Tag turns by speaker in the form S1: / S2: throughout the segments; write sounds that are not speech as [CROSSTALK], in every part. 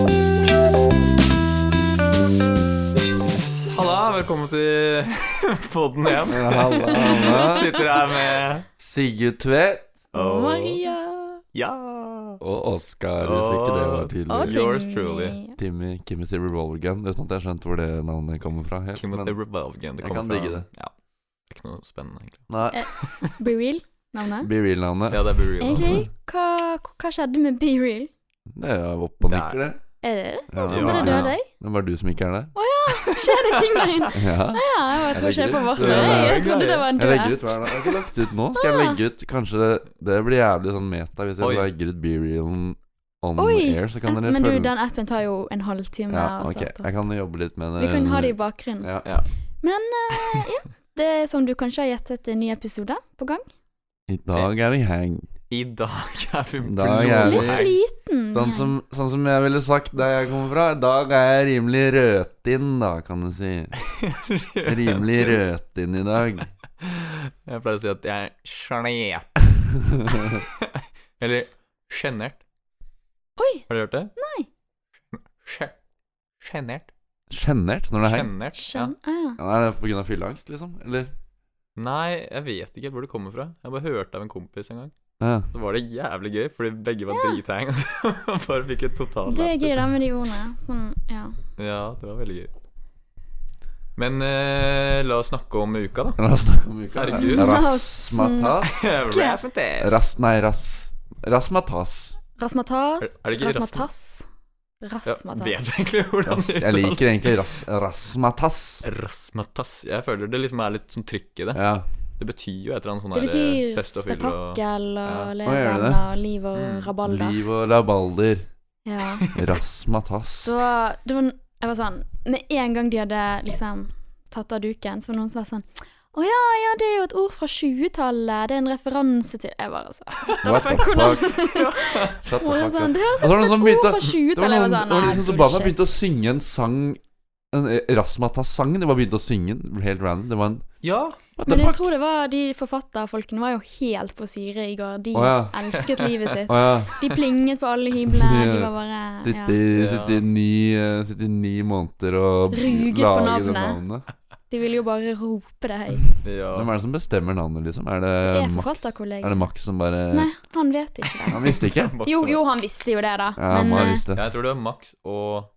S1: [LAUGHS] Fantasypodden igjen.
S2: Halla, halla.
S1: Sitter her med
S2: Sigurd Tvedt
S3: Maria.
S1: Ja!
S2: og Oskar, hvis ikke det var
S3: Og
S2: tydelig.
S1: Å, Yours
S3: Timmy.
S1: truly.
S2: Timmy Kimothy Revolver Gun. Uten at jeg har skjønt hvor det navnet kommer fra helt.
S1: Kim at the
S2: Men
S1: Revolve Game. Det
S2: Jeg
S1: kom
S2: kan
S1: fra-
S2: digge det.
S1: Ja. Det er ikke noe spennende, egentlig.
S2: nei,
S3: Be real, navnet.
S2: Be Real-navnet.
S1: Ja, det er Burrell.
S3: Egentlig, hva, hva skjedde med Be real?
S2: Det er jo opp og nikker, det.
S3: Er det det?
S2: Ja,
S3: Altså,
S1: Ja,
S3: dere
S1: ja.
S3: døde, jeg?
S2: Det var du som ikke er
S3: [LAUGHS]
S2: der.
S3: Å ja! Skjer det ting der inne?
S2: [LAUGHS] Ja.
S3: Å ja, jeg tror ikke jeg får
S2: Det
S3: varsel.
S2: er
S3: Jeg,
S1: jo
S3: jeg trodde
S1: greier.
S3: det var en
S2: Jeg legger
S3: død.
S2: ut hver dag. Jeg har ikke lagt ut nå. Skal jeg legge ut Kanskje det, det blir jævlig sånn meta hvis jeg
S1: Oi.
S2: legger ut Be Real on
S3: Oi.
S2: air, så kan dere
S3: Men du,
S2: følge
S3: den appen tar jo en halvtime
S2: Ja,
S3: å
S2: ok.
S3: starte.
S2: Jeg kan jobbe litt med det.
S3: Vi kan ha det i bakgrunnen.
S2: Ja.
S3: Men eh, ja, det er som du kanskje har gjettet, en ny episode på gang.
S2: I dag er vi hang.
S1: I dag er vi
S2: I dag er vi-
S3: Litt sliten.
S2: Sånn som, sånn som jeg ville sagt der jeg kommer fra. I dag er jeg rimelig rødtinn, da, kan du si.
S1: [LAUGHS]
S2: Rimelig rødtinn i dag.
S1: Jeg pleier å si at jeg er
S2: [LAUGHS]
S1: sjenert. Eller sjenert.
S3: Oi!
S1: Har du hørt det?
S3: Nei.
S1: Sje- Sjenert.
S2: Sjenert når det er hang?
S1: Sjenert. Ja.
S3: Skjønn. Ah, ja.
S2: Ja, er det pga. fylleangst, liksom? Eller?
S1: Nei, jeg vet ikke helt hvor det kommer fra. Jeg bare hørte av en kompis en gang.
S2: Ja.
S1: Så var det jævlig gøy, fordi begge var
S3: Ja.
S1: drithang. Og [LAUGHS] så bare fikk et totalt
S3: Det er gøy
S1: lættis.
S3: da med de ordene. Sånn, ja.
S1: Ja, det var veldig gøy. Men eh, la oss snakke om uka, da. [LAUGHS]
S2: La oss snakke om uka.
S1: Herregud.
S2: Rasmatas?
S1: Rasmatas.
S2: Ras... Nei, ras... Rasmatas.
S1: Er,
S3: Rasmatas.
S1: er det ikke rasmatas? Ja,
S3: Rasmatas.
S1: vet
S3: Rasmatas.
S1: du egentlig hvordan
S2: Ras...
S1: det
S2: Jeg liker
S1: uttales?
S2: egentlig ras... rasmatas.
S1: Rasmatas. Jeg føler det liksom er litt sånn trykk i det.
S2: Ja.
S1: Det betyr jo et eller annet sånn
S3: Det
S1: der, eh,
S3: betyr
S1: fest og fyll og
S3: spetakkel
S1: Ja.
S3: og
S2: Å, gjør det
S3: leven
S2: det?
S3: og liv og
S1: Mm,
S3: rabalder.
S2: Liv og labalder.
S3: Ja.
S2: Rasmatas.
S3: Det var, det var, jeg var sånn Med en gang de hadde liksom tatt av duken, så var det noen som var sånn Å ja, ja, det er jo et ord fra 20-tallet. Det er en referanse til Jeg bare sånn
S2: What the
S3: hvordan-
S2: fuck? Shut
S3: Og jeg
S2: the
S3: var
S2: fuck up.
S3: sånn, Det høres
S2: Og så var det
S3: ut som
S2: noen
S3: et
S2: som
S3: ord
S2: begynte- Det
S3: fra
S2: var
S3: 20-tallet.
S2: noen, det
S3: Jeg var
S2: var
S3: sånn
S2: noen
S3: Nei,
S2: som bare
S3: bullshit.
S2: begynte å synge en sang En eh, Rasmatas-sang. De bare begynte å synge den helt random. Det var en
S1: Ja!
S2: What
S3: Men
S2: the
S3: jeg
S2: fuck?
S3: tror det var de forfatterfolkene var jo helt på syre i går. De
S2: Å, ja.
S3: elsket livet sitt.
S2: Å ja.
S3: De plinget på alle hyblene.
S2: [LAUGHS]
S3: De
S2: Ja.
S3: var bare
S2: Sitte
S3: ja.
S2: i,
S1: Ja.
S2: sitte i ni, eh, sitte i ni måneder og
S3: Ruget på
S2: lage
S3: navnet.
S2: det navnet.
S3: De ville jo bare rope det høyt.
S1: ja.
S2: Hvem er det som bestemmer navnet, liksom? Er det,
S3: Det er
S2: Eh, Max? Er
S3: forfatterkollegiet.
S2: det Max som bare
S3: Nei, han vet ikke det.
S2: Han visste
S1: [LAUGHS]
S2: ikke?
S3: Jo, jo, han visste jo det, da.
S2: Ja, han må ha
S3: eh,
S2: visst det.
S1: Ja, jeg tror det er Max og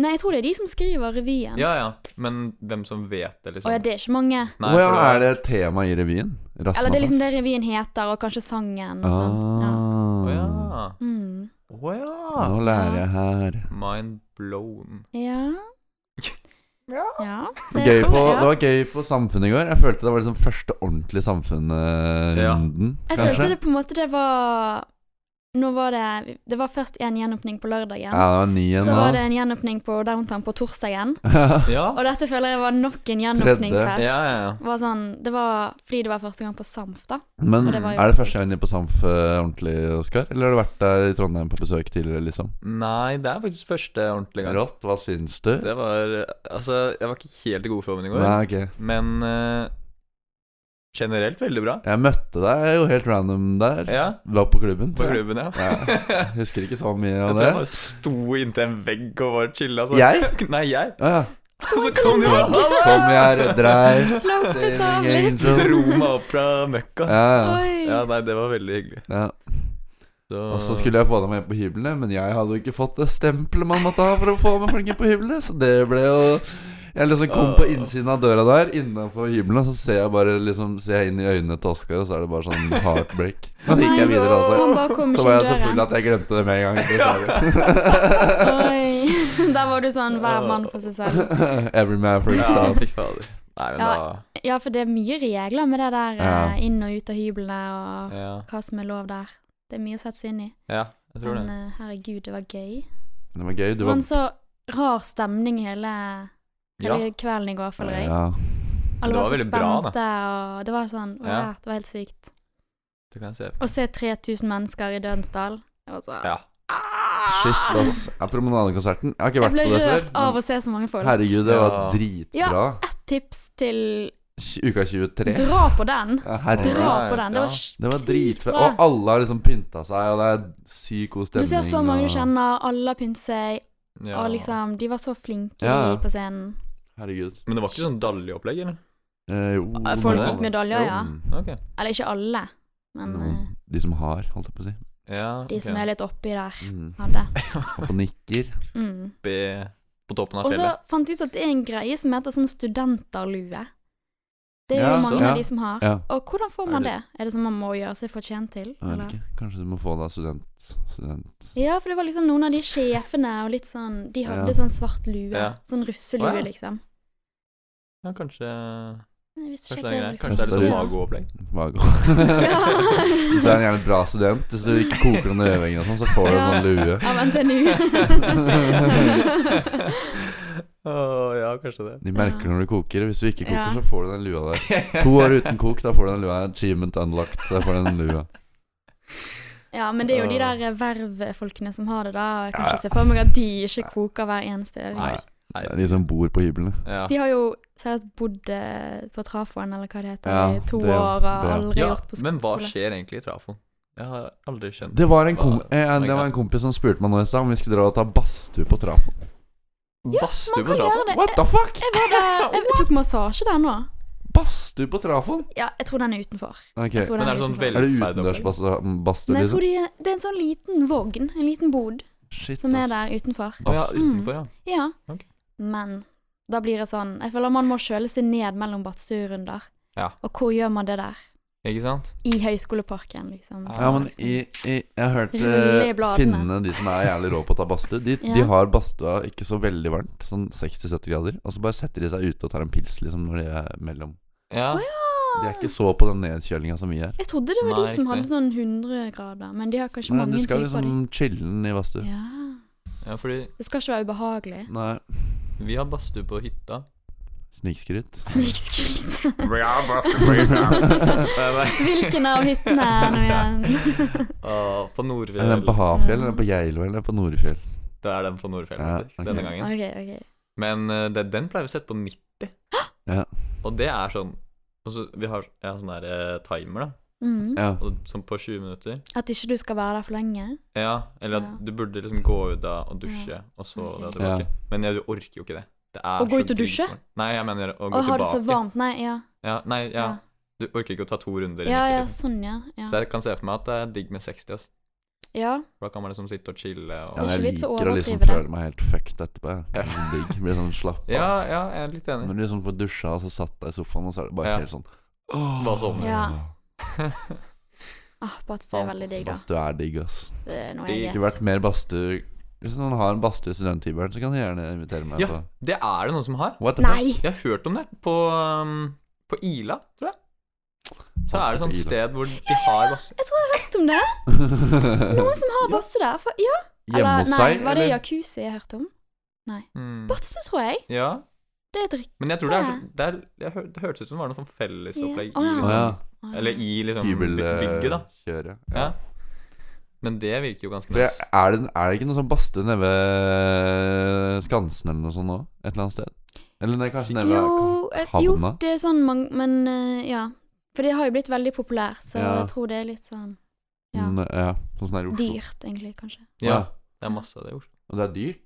S3: Nei, jeg tror det er de som skriver revyen.
S1: Ja, ja. Men hvem som vet det, liksom?
S3: Og ja, det er ikke mange.
S1: Nei,
S2: Å ja,
S1: for
S2: er det et tema i revyen? Rasmatas?
S3: Eller det er liksom det revyen heter, og kanskje sangen. Og sånn. ja.
S2: Ah.
S1: Å ja.
S3: Mm.
S1: Å ja.
S2: Nå lærer jeg her.
S1: Mind blown.
S3: ja.
S1: Ja.
S3: Ja.
S2: Gøy på, det
S3: jeg.
S2: var gøy på Samfunnet i går. Jeg følte det var liksom første ordentlige Samfunnet-runden.
S3: Jeg følte det på en måte det var Nå var det Det var først en gjenåpning på
S2: Ja,
S3: lørdagen.
S2: det var ny en
S3: Så var det
S2: da.
S3: en gjenåpning på Downtown på torsdagen.
S1: Ja.
S3: Og dette føler jeg var nok en gjenåpningsfest.
S1: Ja, ja, ja.
S3: Var sånn, det var fordi det var første gang på Samf, da.
S2: [LAUGHS] Men
S3: Og det var jo
S2: er det
S3: sykt.
S2: første gang inne på Samf eh, ordentlig, Oskar? Eller har du vært der i Trondheim på besøk tidligere, liksom?
S1: Nei, det er faktisk første ordentlige gang.
S2: Rått, hva syns du?
S1: Det var Altså, jeg var ikke helt i god form i går,
S2: Nei, ok.
S1: men eh, generelt veldig bra.
S2: Jeg møtte deg jo helt random der.
S1: Ja,
S2: La på klubben.
S1: på
S2: tror jeg.
S1: klubben, ja. [LAUGHS]
S2: Ja. Husker ikke så mye
S1: Jeg
S2: av
S1: tror
S2: det.
S1: jeg bare sto inntil en vegg og bare chilla. så-
S2: Jeg?
S1: [LAUGHS] Nei, jeg.
S2: Ja, ja.
S1: Og så [LAUGHS] kom du bare
S2: Kom, jeg redder deg.
S3: Slappet av
S2: Singing
S3: litt.
S2: angel.
S1: dro meg opp fra møkka.
S2: Ja, ja.
S3: Oi.
S1: Ja, nei, det var veldig hyggelig.
S2: ja.
S1: Så-
S2: Og så skulle jeg få deg med på hyblene, men jeg hadde jo ikke fått det stempelet man måtte ha for å få med folk inn på hyblene, så det ble jo Jeg liksom kom på innsiden av døra der, innafor hyblene, så ser jeg bare liksom Ser jeg inn i øynene til Oskar, og så er det bare sånn heartbreak. Så gikk jeg videre,
S3: Han
S2: altså.
S3: bare kom
S2: Så
S3: ikke
S2: var
S3: inn
S2: jeg så full
S3: døren.
S2: at jeg glemte det med en gang. dessverre.
S3: Oi. Der var du sånn hver mann for seg selv.
S2: [LAUGHS] Every man for
S1: Ja,
S2: himself.
S1: fy fader. Nei, men da
S3: Ja, for det er mye regler med det der
S2: Ja.
S3: eh, inn og ut av hyblene og
S1: Ja,
S3: hva som er lov der. Det er mye å sette seg inn i.
S1: ja jeg tror
S3: Men
S1: det.
S3: eh, herregud, det var
S2: Det
S3: gøy.
S2: var gøy.
S3: Det
S2: Du
S3: var
S2: var
S3: en så rar stemning hele,
S1: Ja.
S3: hele kvelden i går, føler jeg.
S2: Ja.
S1: det
S3: Alle var,
S1: var
S3: så
S1: veldig bra,
S3: spente, og det var sånn wow,
S1: Ja.
S3: Det var helt sykt.
S1: Det kan jeg se.
S3: Å se 3000 mennesker i Dødens dal det var så-
S1: Ja.
S3: Ah!
S2: Shit, altså. ass. Ja, promenadekonserten. Jeg har ikke
S3: Jeg
S2: vært
S3: ble
S2: på det før.
S3: rørt av
S2: men
S3: å se så mange folk.
S2: Herregud, det var
S1: Ja.
S2: dritbra.
S3: Ett tips til
S2: Tj- Uka 23.
S3: Dra på den!
S2: Ja,
S1: Bra.
S2: Herregud.
S3: Dra på den. Det
S1: Ja.
S2: Det
S3: var
S2: var
S3: sykt
S2: dritfett.
S3: bra.
S2: Og alle har liksom pynta seg, og det er sykt god
S3: Du
S2: stemning.
S3: ser så mange
S2: og-
S3: du kjenner, alle har pyntet seg,
S1: ja.
S3: og liksom De var så flinke
S2: Ja, ja.
S3: de på scenen.
S2: Herregud.
S1: Men det var ikke sånn daljeopplegg, eller?
S2: Eh, jo,
S3: Ah, Folk
S2: det-
S3: gikk med daljer,
S2: Jo.
S3: ja.
S2: Mm.
S1: Ok.
S3: Eller ikke alle, men
S2: Noen,
S3: eh,
S2: de som har, holdt jeg på å si.
S1: Ja,
S3: de som
S1: ok.
S3: er litt oppi der,
S2: Mm.
S3: hadde.
S1: [LAUGHS]
S2: Og nikker.
S3: Mm.
S1: Be- på toppen av
S3: Og så
S1: fjellet.
S3: fant jeg ut at det er en greie som heter sånn studenterlue. Det er jo
S2: Ja,
S3: mange
S2: så-
S3: av
S2: ja.
S3: de som har.
S2: Ja.
S3: Og hvordan får
S1: Er
S3: man det?
S1: det-
S3: Er det som man må gjøre seg fortjent til?
S2: Jeg vet
S3: Eller?
S2: ikke. Kanskje du må få deg student... student.
S3: Ja, for det var liksom noen av de sjefene og litt sånn De hadde
S2: Ja.
S3: sånn svart lue.
S1: Ja.
S3: Sånn russelue,
S1: Å, ja.
S3: liksom.
S1: Ja, kanskje
S3: Jeg visste
S1: Kanskje
S3: ikke
S1: det er
S3: at det var
S1: greit.
S3: liksom
S1: Kanskje det er litt sånn
S3: [LAUGHS] Ja.
S1: magoopplegg.
S2: Vago. [LAUGHS]
S3: Ja.
S2: Så er han gjerne en bra student. Hvis du ikke koker under øvingen, og sånn, så får du en sånn lue.
S3: [LAUGHS] Av NTNU.
S1: [LAUGHS] Å ja, kanskje det.
S2: De merker når du koker. Hvis du ikke koker,
S3: Ja.
S2: så får du den lua der. [LAUGHS] To år uten kok, da får du den lua. Achievement unlocked, da får du den lua.
S3: ja, men det er jo de
S1: Ja.
S3: der eh, vervfolkene som har det, da. og Jeg kan
S2: Ja, ja.
S3: ikke se for meg at de ikke koker hver eneste
S1: Nei.
S3: øving.
S2: Det er de som bor på hyblene.
S1: Ja.
S3: De har jo seriøst bodd eh, på trafoen, eller hva det heter,
S2: Ja,
S3: i to
S2: det er jo-
S3: år og
S2: det er-
S3: aldri
S1: ja,
S3: gjort på skole.
S1: men hva skjer egentlig i trafoen? Jeg har aldri skjønt
S2: Det var en, kom eh, det var en kompis som spurte meg nå i stad om vi skulle dra og ta badstue på trafoen.
S3: Ja,
S1: Badstue
S3: man
S1: på
S3: kan gjøre
S1: trafoen?
S3: det.
S2: What the fuck?!
S3: Jeg, var
S1: [LAUGHS]
S3: der, jeg tok massasje der nå.
S2: Badstue på trafoen?
S3: Ja, jeg tror den er utenfor.
S2: Ok,
S3: Jeg tror
S1: Men
S3: den
S1: er det sånn
S3: utenfor.
S1: veldig-
S2: Er det
S1: Velferdopplegg.
S2: utendørs badstue, badstue,
S3: Nei, jeg
S2: liksom?
S3: tror de, det er en sånn liten vogn, en liten bod,
S2: Shit,
S3: som er
S2: ass.
S3: der utenfor.
S1: Å ja,
S2: Badstue.
S1: utenfor, ja.
S3: Ja.
S1: Ok.
S3: Men da blir det sånn Jeg føler man må kjøle seg ned mellom badstuerunder.
S1: Ja.
S3: Og hvor gjør man det der?
S1: Ikke sant?
S3: I Høyskoleparken, liksom.
S1: Ja,
S2: Ja, men
S3: Liksom.
S2: i, i, jeg har hørt
S3: Rulle i
S2: eh,
S3: bladene.
S2: finnene, de som er jævlig rå på å ta badstue, de,
S3: Ja.
S2: de har badstua ikke så veldig varmt, sånn 60-70 grader, og så bare setter de seg ute og tar en pils liksom når de er mellom.
S1: Ja.
S3: Å
S2: De
S3: ja.
S2: er ikke så på den nedkjølinga som vi er.
S3: Jeg trodde det var
S1: Nei,
S3: de som
S1: riktig.
S3: hadde sånn 100 grader, men de har kanskje
S2: Nei,
S3: mange
S2: du skal
S3: typer.
S2: liksom chille'n i badstue.
S3: de. Ja.
S1: ja, fordi
S3: Det skal ikke være ubehagelig.
S2: Nei,
S1: vi har badstue på hytta.
S2: snikskryt.
S3: Snikskryt.
S1: Vi har badstue på hytta.
S3: [LAUGHS] Hvilken av hyttene er nå igjen?
S1: [LAUGHS] Å, på
S2: Er det den på
S1: Nordfjell.
S2: Hafjell, eller den på Geilo, eller den på Norefjell?
S1: Det er den på Nordfjell
S2: Ja,
S1: faktisk,
S2: ok.
S1: denne gangen.
S3: ok, ok.
S1: Men eh, det, den pleier vi å sette på 90.
S2: Ja.
S1: Og det er sånn altså, Vi har jeg har sånn der eh, timer, da.
S3: Mm.
S2: Ja.
S1: Og, sånn på 20 minutter.
S3: At ikke du skal være der for lenge?
S1: Ja, eller at
S3: Ja.
S1: du burde liksom gå ut da og dusje, og så
S3: Ok.
S1: dra tilbake. Men ja, du orker jo ikke det. det er
S3: Å gå
S1: så
S3: ut og dusje?
S1: dyrt. Nei, jeg mener å gå
S3: Å, har du
S1: tilbake.
S3: så varmt? Nei, ja.
S1: Ja, nei, ja.
S3: Ja.
S1: Du orker ikke å ta to runder i
S3: Ja,
S1: midten,
S3: ja,
S1: liksom.
S3: sånn, ja.
S1: Så
S3: Ja.
S1: jeg kan se for meg at det er digg med altså. 60, ass.
S3: ja.
S1: For da kan man liksom sitte og chille og
S2: Ja,
S3: Det er
S2: jeg
S3: ikke vits å
S2: liker å liksom
S3: overdrive det.
S2: føle meg helt fucked etterpå. jeg. Det er sånn digg. Blir sånn slapp av.
S1: Ja, ja, jeg er litt enig.
S2: Når du liksom får dusja, og så satt deg i sofaen, og så er det bare
S1: Ja.
S2: helt sånn åh.
S1: Bare sovne.
S3: Ja. Ah, Badstue er veldig digg, da.
S2: Badstue er digg, ass.
S3: Det er noe
S1: Digg.
S3: jeg
S2: Skulle vært
S3: vet.
S2: mer badstue Hvis noen har en badstue i studenthybelen, så kan de gjerne invitere meg
S1: Ja.
S2: på
S1: [LAUGHS] Det er det noen som har.
S2: What the fuck?
S3: Nei!
S1: Jeg har hørt om det på, um, på Ila, tror jeg. Så er det sånn sted hvor de har bass...
S3: Jeg tror jeg har hørt om det. Noen som
S1: [LAUGHS]
S3: har badstue der. For, ja.
S2: Hjemme hos
S3: nei,
S2: seg,
S3: var det
S2: eller?
S3: jacuzzi jeg hørte om?
S1: Mm.
S3: Badstue, tror jeg.
S1: Ja.
S3: Det er dritt.
S1: Men jeg tror det er så Det, er, jeg hør, det hørtes ut som det var noe sånn fellesopplegg
S3: Ja. Å,
S1: i
S3: ja.
S2: Å
S1: liksom
S2: ja.
S3: Å, ja.
S1: Eller i liksom bygget, da.
S2: Hybelkjøret. Ja.
S1: Ja. Men det virker jo ganske
S2: For jeg,
S1: nice.
S2: er, det, er det ikke noe sånn badstue nede ved Skansen eller noe sånt nå? Et eller annet sted? Eller nei, kanskje nede ved
S3: Jo, eh, jo,
S2: havna?
S3: det er sånn man Men eh, ja. For det har jo blitt veldig populært, så
S2: Ja.
S3: jeg tror det er litt sånn ja.
S2: Mm, ja. Sånn som det er i Oslo.
S3: dyrt, egentlig, kanskje.
S1: Ja,
S2: Ja.
S1: det er masse av det i Oslo.
S2: Og det er dyrt.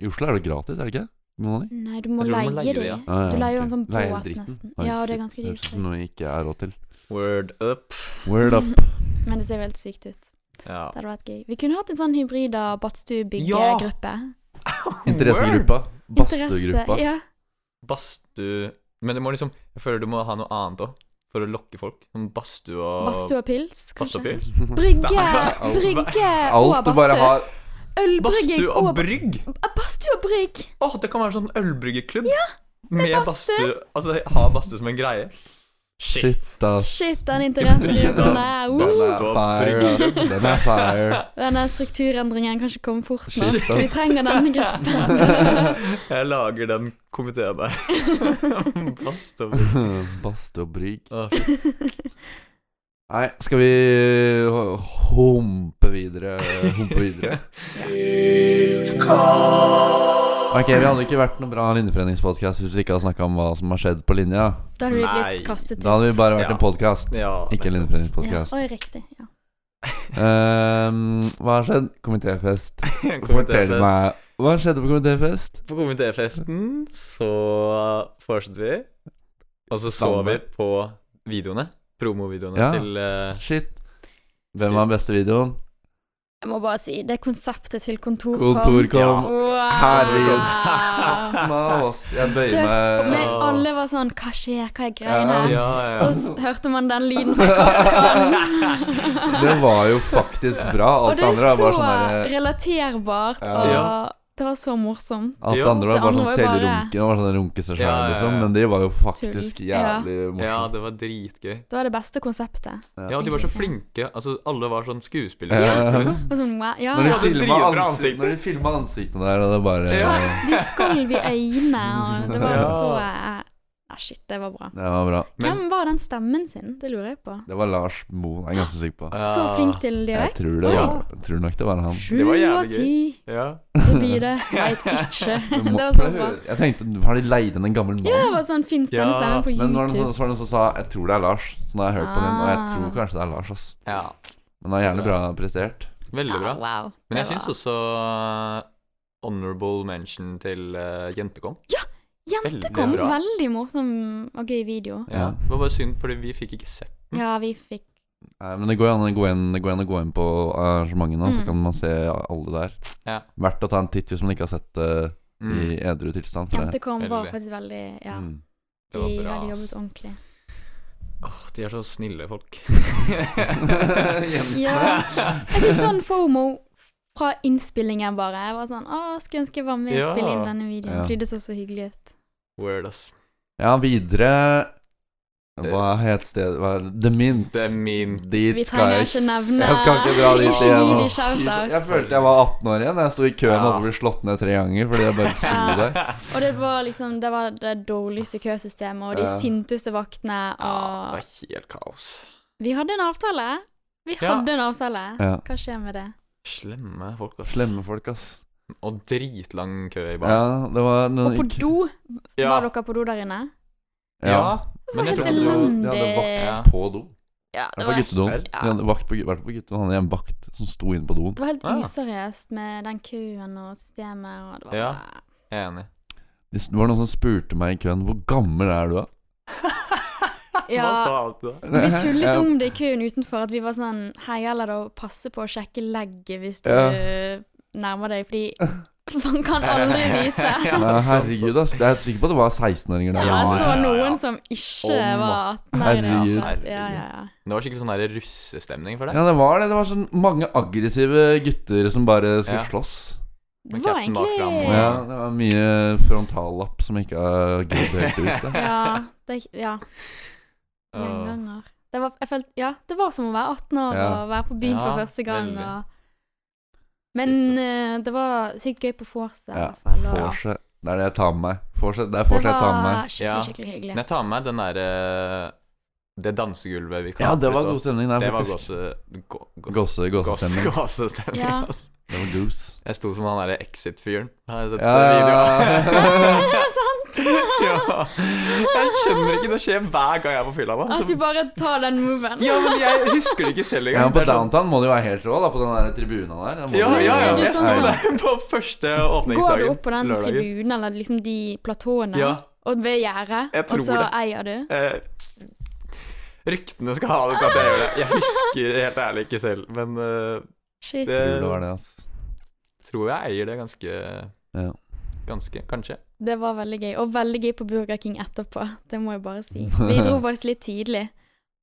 S2: I Oslo er det gratis, er det ikke? Money?
S3: Nei, du
S1: Jeg tror
S3: må
S1: du må
S3: leie
S1: leie det,
S3: de.
S1: ja.
S2: Ah,
S3: Du
S2: ja,
S3: leier jo
S2: ok.
S3: en sånn
S2: Leier
S3: båt,
S2: dritten.
S3: nesten.
S2: Oi,
S3: Ja, det er
S2: shit,
S3: ganske
S2: høres
S3: dyrt.
S2: ut som noe jeg ikke har råd til.
S1: Word up.
S2: Word up.
S3: [LAUGHS] Men det ser jo helt sykt ut.
S1: Ja.
S3: Det hadde vært gøy. Vi kunne hatt en sånn hybrida
S1: Ja!
S3: badstue-byggegruppe.
S2: Interessegruppa.
S3: Interesse.
S2: [LAUGHS] Badstuegruppa.
S3: Ja.
S1: Badstue Men det må liksom Jeg føler du må ha noe annet òg, for å lokke folk. Som badstue og
S3: Badstue og pils, kanskje.
S1: Badstuepils.
S3: Brygge,
S1: Nei,
S3: brygge og
S2: Alt du bare
S3: badstue.
S2: har
S3: Ølbrygging
S1: Badstue
S3: og
S1: og brygg!
S3: Ah, Badstue og brygg!
S1: Å, det kan være en sånn ølbryggeklubb. Ja, med
S3: badstue.
S1: badstue. Altså, ha badstue som en greie.
S2: Shit, ass.
S3: Shit, den
S2: [LAUGHS]
S3: interessegruppen der.
S2: Den
S3: Uh,
S2: er fire. ass. Den er fire.
S3: denne strukturendringen kan ikke komme fort nå.
S2: Shit,
S3: Vi
S2: ass.
S3: [LAUGHS] trenger
S1: [LAUGHS]
S3: denne gruppen.
S1: Jeg lager den komiteen der.
S3: [LAUGHS]
S1: Badstue og brygg.
S2: [LAUGHS] Badstue og brygg.
S1: Å, shit.
S2: Nei, skal vi h- humpe videre? Humpe
S3: [LAUGHS]
S2: videre? Ok, Vi hadde ikke vært noen bra linjeforeningspodkast hvis vi ikke hadde snakka om hva som har skjedd på linja.
S3: Da hadde vi
S1: Nei.
S3: blitt kastet ut.
S2: Da hadde vi bare vært
S1: Ja.
S2: en podkast,
S1: Ja,
S2: ikke
S1: nettopp.
S2: en
S3: ja.
S2: linjeforeningspodkast.
S3: Oi, riktig. Ja.
S2: Ehm, hva har skjedd? Komitéfest.
S3: [LAUGHS]
S1: Komitéfest.
S2: Fortell meg Hva skjedde på komitéfest?
S1: På komitéfesten så fortsatte vi, og så så vi på videoene. Promovideoene
S2: Ja.
S1: til eh,
S2: Shit. Hvem var den beste videoen?
S3: Jeg må bare si, det konseptet til kontor kom.
S2: Kontor kom.
S3: Wow. [LAUGHS]
S2: Herregud. Nå, ass, Jeg bøyer
S3: Dødsbo- Men
S2: [LAUGHS] meg.
S1: Ja.
S3: alle var sånn Hva skjer, hva er
S1: Ja,
S3: greiene?
S2: Ja.
S1: ja.
S3: Så s- hørte man den lyden fra
S2: [LAUGHS]
S3: klokken.
S2: Det var jo faktisk bra.
S3: Og
S2: Alt
S3: det
S2: det
S3: er
S2: andre
S3: så
S2: var bare sånn der
S3: relaterbart,
S2: Ja.
S1: Ja.
S3: og det var så morsomt.
S2: Alt det
S1: Ja.
S2: andre var
S3: Det
S2: bare
S3: andre
S2: sånn
S3: var jo bare-
S2: selvrunken og sånn runkestasjon,
S1: Ja, ja, ja.
S2: liksom. Men de var jo faktisk
S3: Tull. Ja.
S2: jævlig
S1: ja,
S2: morsomme.
S1: det var dritgøy.
S3: Det var det beste konseptet.
S1: Ja, de var så flinke. Altså, alle var sånn skuespillere.
S2: [LAUGHS] Ja.
S1: liksom.
S3: Og sånn, wow, ja,
S2: Når de
S1: Ja, det
S2: filma
S1: driver fra
S2: ansikt,
S1: ansiktet.
S2: når de filma ansiktene der, og det bare
S1: Ja.
S3: De skalv i øynene, og det var
S1: Ja.
S3: så eh, ah, Shit, det var bra.
S2: Det var bra.
S1: Men-
S3: Hvem var den stemmen sin? Det lurer jeg på.
S2: Det var Lars Moen, jeg er ganske sikker på.
S1: Ja.
S3: Så flink til
S2: Jeg
S3: dialekt.
S2: tror, det var,
S1: Oi.
S2: jeg tror nok det var han.
S3: Sju
S1: Det var
S3: av
S1: jævlig gøy.
S3: ti.
S1: Ja.
S3: Det
S1: [LAUGHS]
S3: blir det. Veit ikke.
S2: Du
S3: Det
S2: må-
S3: var så bra.
S2: Jeg tenkte, har de leid inn en gammel mann?
S3: Ja, det var sånn Fins denne
S1: Ja,
S3: stemmen på
S2: Men var det noen som-
S3: YouTube?
S2: så var det noen som sa 'jeg tror det er Lars', så nå har jeg hørt på den, og jeg
S3: Ah.
S2: tror kanskje det er Lars, ass.
S1: ja.
S2: Men han er jævlig bra prestert.
S1: Veldig bra.
S3: Ja, Ah, wow.
S1: Men jeg
S3: Det
S1: syns
S3: var-
S1: også eh, honorable mention til eh, Jentekom.
S3: Jente
S1: veldig
S3: kom
S1: bra.
S3: veldig morsom og gøy video.
S1: Ja.
S2: Ja.
S1: Det var bare synd, fordi vi fikk ikke sett
S3: Ja, vi fikk
S2: Nei, Eh, men det går jo an å gå inn, det går an å gå inn på arrangementet nå, så
S3: Mm.
S2: kan man se alle der.
S1: Ja.
S2: Verdt å ta en titt hvis man ikke har sett det
S1: Mm.
S2: i edru tilstand. for det-
S3: Jente kom var
S1: Veldig.
S3: faktisk veldig Ja,
S2: Mm.
S1: Det var
S3: de
S1: bra,
S3: hadde
S1: ass.
S3: jobbet ordentlig.
S1: Åh, de er så snille
S2: [LAUGHS]
S1: folk.
S2: Jentene.
S3: Ja. Jeg fikk sånn fomo fra innspillingen, bare. Jeg var sånn Å, skulle ønske jeg var med og
S1: Ja.
S3: spille inn denne videoen,
S2: Ja.
S3: fordi det så så hyggelig ut.
S1: [LAUGHS] Word, ass.
S2: Ja, videre Hva het stedet? Hva er det? The Mint.
S1: Det er min
S2: Dit
S3: Vi
S2: skal
S3: trenger
S2: jeg
S3: ikke nevne
S2: [LAUGHS] Jeg skal ikke dra dit
S3: Ikke
S2: igjen.
S3: gi de
S2: ass.
S3: eh, shout-out.
S2: Jeg følte jeg var 18 år igjen. Jeg sto i køen og
S1: Ja.
S2: hadde blitt slått ned tre ganger fordi jeg bare skulle der.
S1: [LAUGHS]
S3: Og det var liksom Det var det dårligste køsystemet, og de
S2: Ja.
S3: sinteste vaktene,
S1: Ja, det
S3: og
S1: var helt kaos.
S3: Vi hadde en avtale! Vi
S1: Ja.
S3: hadde en avtale!
S2: Ja.
S3: Hva skjer med det?
S1: Slemme folk, ass.
S2: Slemme folk, ass.
S1: Og dritlang kø i baren.
S2: Ja, det var noen
S3: Og på do?
S1: Ja.
S3: Var dere på do der inne?
S1: Ja. Men
S3: Det
S1: jeg
S3: var
S1: tror ikke det
S3: helt
S1: var
S2: de hadde
S3: elendig.
S1: Ja.
S2: vakt på do.
S3: Ja,
S2: Det var guttedom.
S1: helt-
S2: De hadde vakt på, gu- vært på guttedom. Han hadde en vakt som sto inne på doen.
S3: Det var helt
S1: Ah.
S3: useriøst med den køen og systemet. Og det var
S1: Ja. [LAUGHS]
S3: bare-
S1: Jeg er enig.
S2: Det var noen som spurte meg i køen 'Hvor gammel er du?' da?'
S3: [LAUGHS] Ja.
S1: Hva sa han til deg?
S2: [LAUGHS]
S3: Vi tullet
S2: Jeg-
S3: om det i køen utenfor at vi var sånn Her gjelder det å passe på å sjekke legget hvis du nærmer deg, fordi man kan
S2: [LAUGHS]
S3: aldri vite.
S2: Nei, herregud, ass. Jeg er helt sikker på at det var 16-åringer der.
S3: altså. Ja, jeg
S1: ja,
S3: så
S1: ja, ja.
S3: noen som ikke
S1: Om,
S3: var 18 år. i det hele
S2: herregud.
S3: tatt. Ja, ja, ja.
S1: Det var skikkelig sånn der russestemning for deg.
S2: Ja, det var det. Det var sånn mange aggressive gutter som bare skulle
S1: Ja.
S2: slåss.
S3: Det
S1: Men
S3: var
S1: kapsen bak fram,
S3: egentlig
S2: Ja, det var mye frontallapp som ikke har gidd helt
S3: [LAUGHS]
S2: ut. da.
S3: Ja. Det, ja
S1: Åh.
S3: gjenganger. Det var, jeg følte, ja, det var som å være 18 år
S2: Ja.
S3: og være på byen
S1: Ja,
S3: for første gang.
S1: veldig.
S3: Og... Men
S1: Shit, ass.
S3: eh, det var sykt gøy på vorset. i
S2: Ja,
S3: hvert fall, og-
S2: Vorset. Det er det jeg tar med meg. Vorset, det er
S3: det
S2: vorset jeg tar med meg.
S1: Ja.
S3: var skikkelig, skikkelig hyggelig.
S1: Men jeg tar med meg den derre Det dansegulvet vi
S2: Ja, det var
S1: ut,
S2: god
S1: og-
S2: stemning der,
S1: Det var eh,
S2: faktisk.
S1: gåse... gå- gå-
S2: Gåse,
S1: gåse-
S2: gåsestemning.
S1: Gåsestemning,
S3: Ja.
S1: altså.
S2: Det var goose.
S1: Jeg sto som han derre Exit-fyren. Har jeg sett
S2: Ja. [LAUGHS]
S1: videoen? [LAUGHS]
S3: det er sant!
S1: ja. Jeg skjønner ikke det skjer hver gang jeg er på fylla. da.
S3: At du
S1: Så-
S3: bare tar den moven.
S1: Ja, men jeg husker det ikke selv engang.
S2: Ja, men på
S1: Det er sånn-
S2: downtown må det jo være helt rå, da, på den der tribunen der. Da må
S1: Ja,
S2: det jo-
S1: ja, ja.
S3: Er du
S1: Jeg sto
S3: sånn som-
S1: der på første
S3: Går du
S1: åpningsdagen.
S3: opp på den
S1: lørdagen.
S3: tribunen, eller liksom de platåene,
S1: Ja.
S3: og ved gjerdet,
S1: Jeg tror
S3: og så
S1: det.
S3: eier du?
S1: Eh, ryktene skal ha det på at jeg gjør det. Jeg husker helt ærlig ikke selv, men eh,
S3: Shit.
S1: Det-
S2: Tror
S3: Det,
S2: det var det, ass.
S1: tror jeg eier det ganske
S2: Ja.
S1: Ganske,
S2: [LAUGHS]
S1: kanskje.
S3: var veldig gøy. Og veldig gøy på Burger King etterpå, det må jeg
S1: [LAUGHS]
S3: bare si. Vi dro faktisk litt tidlig.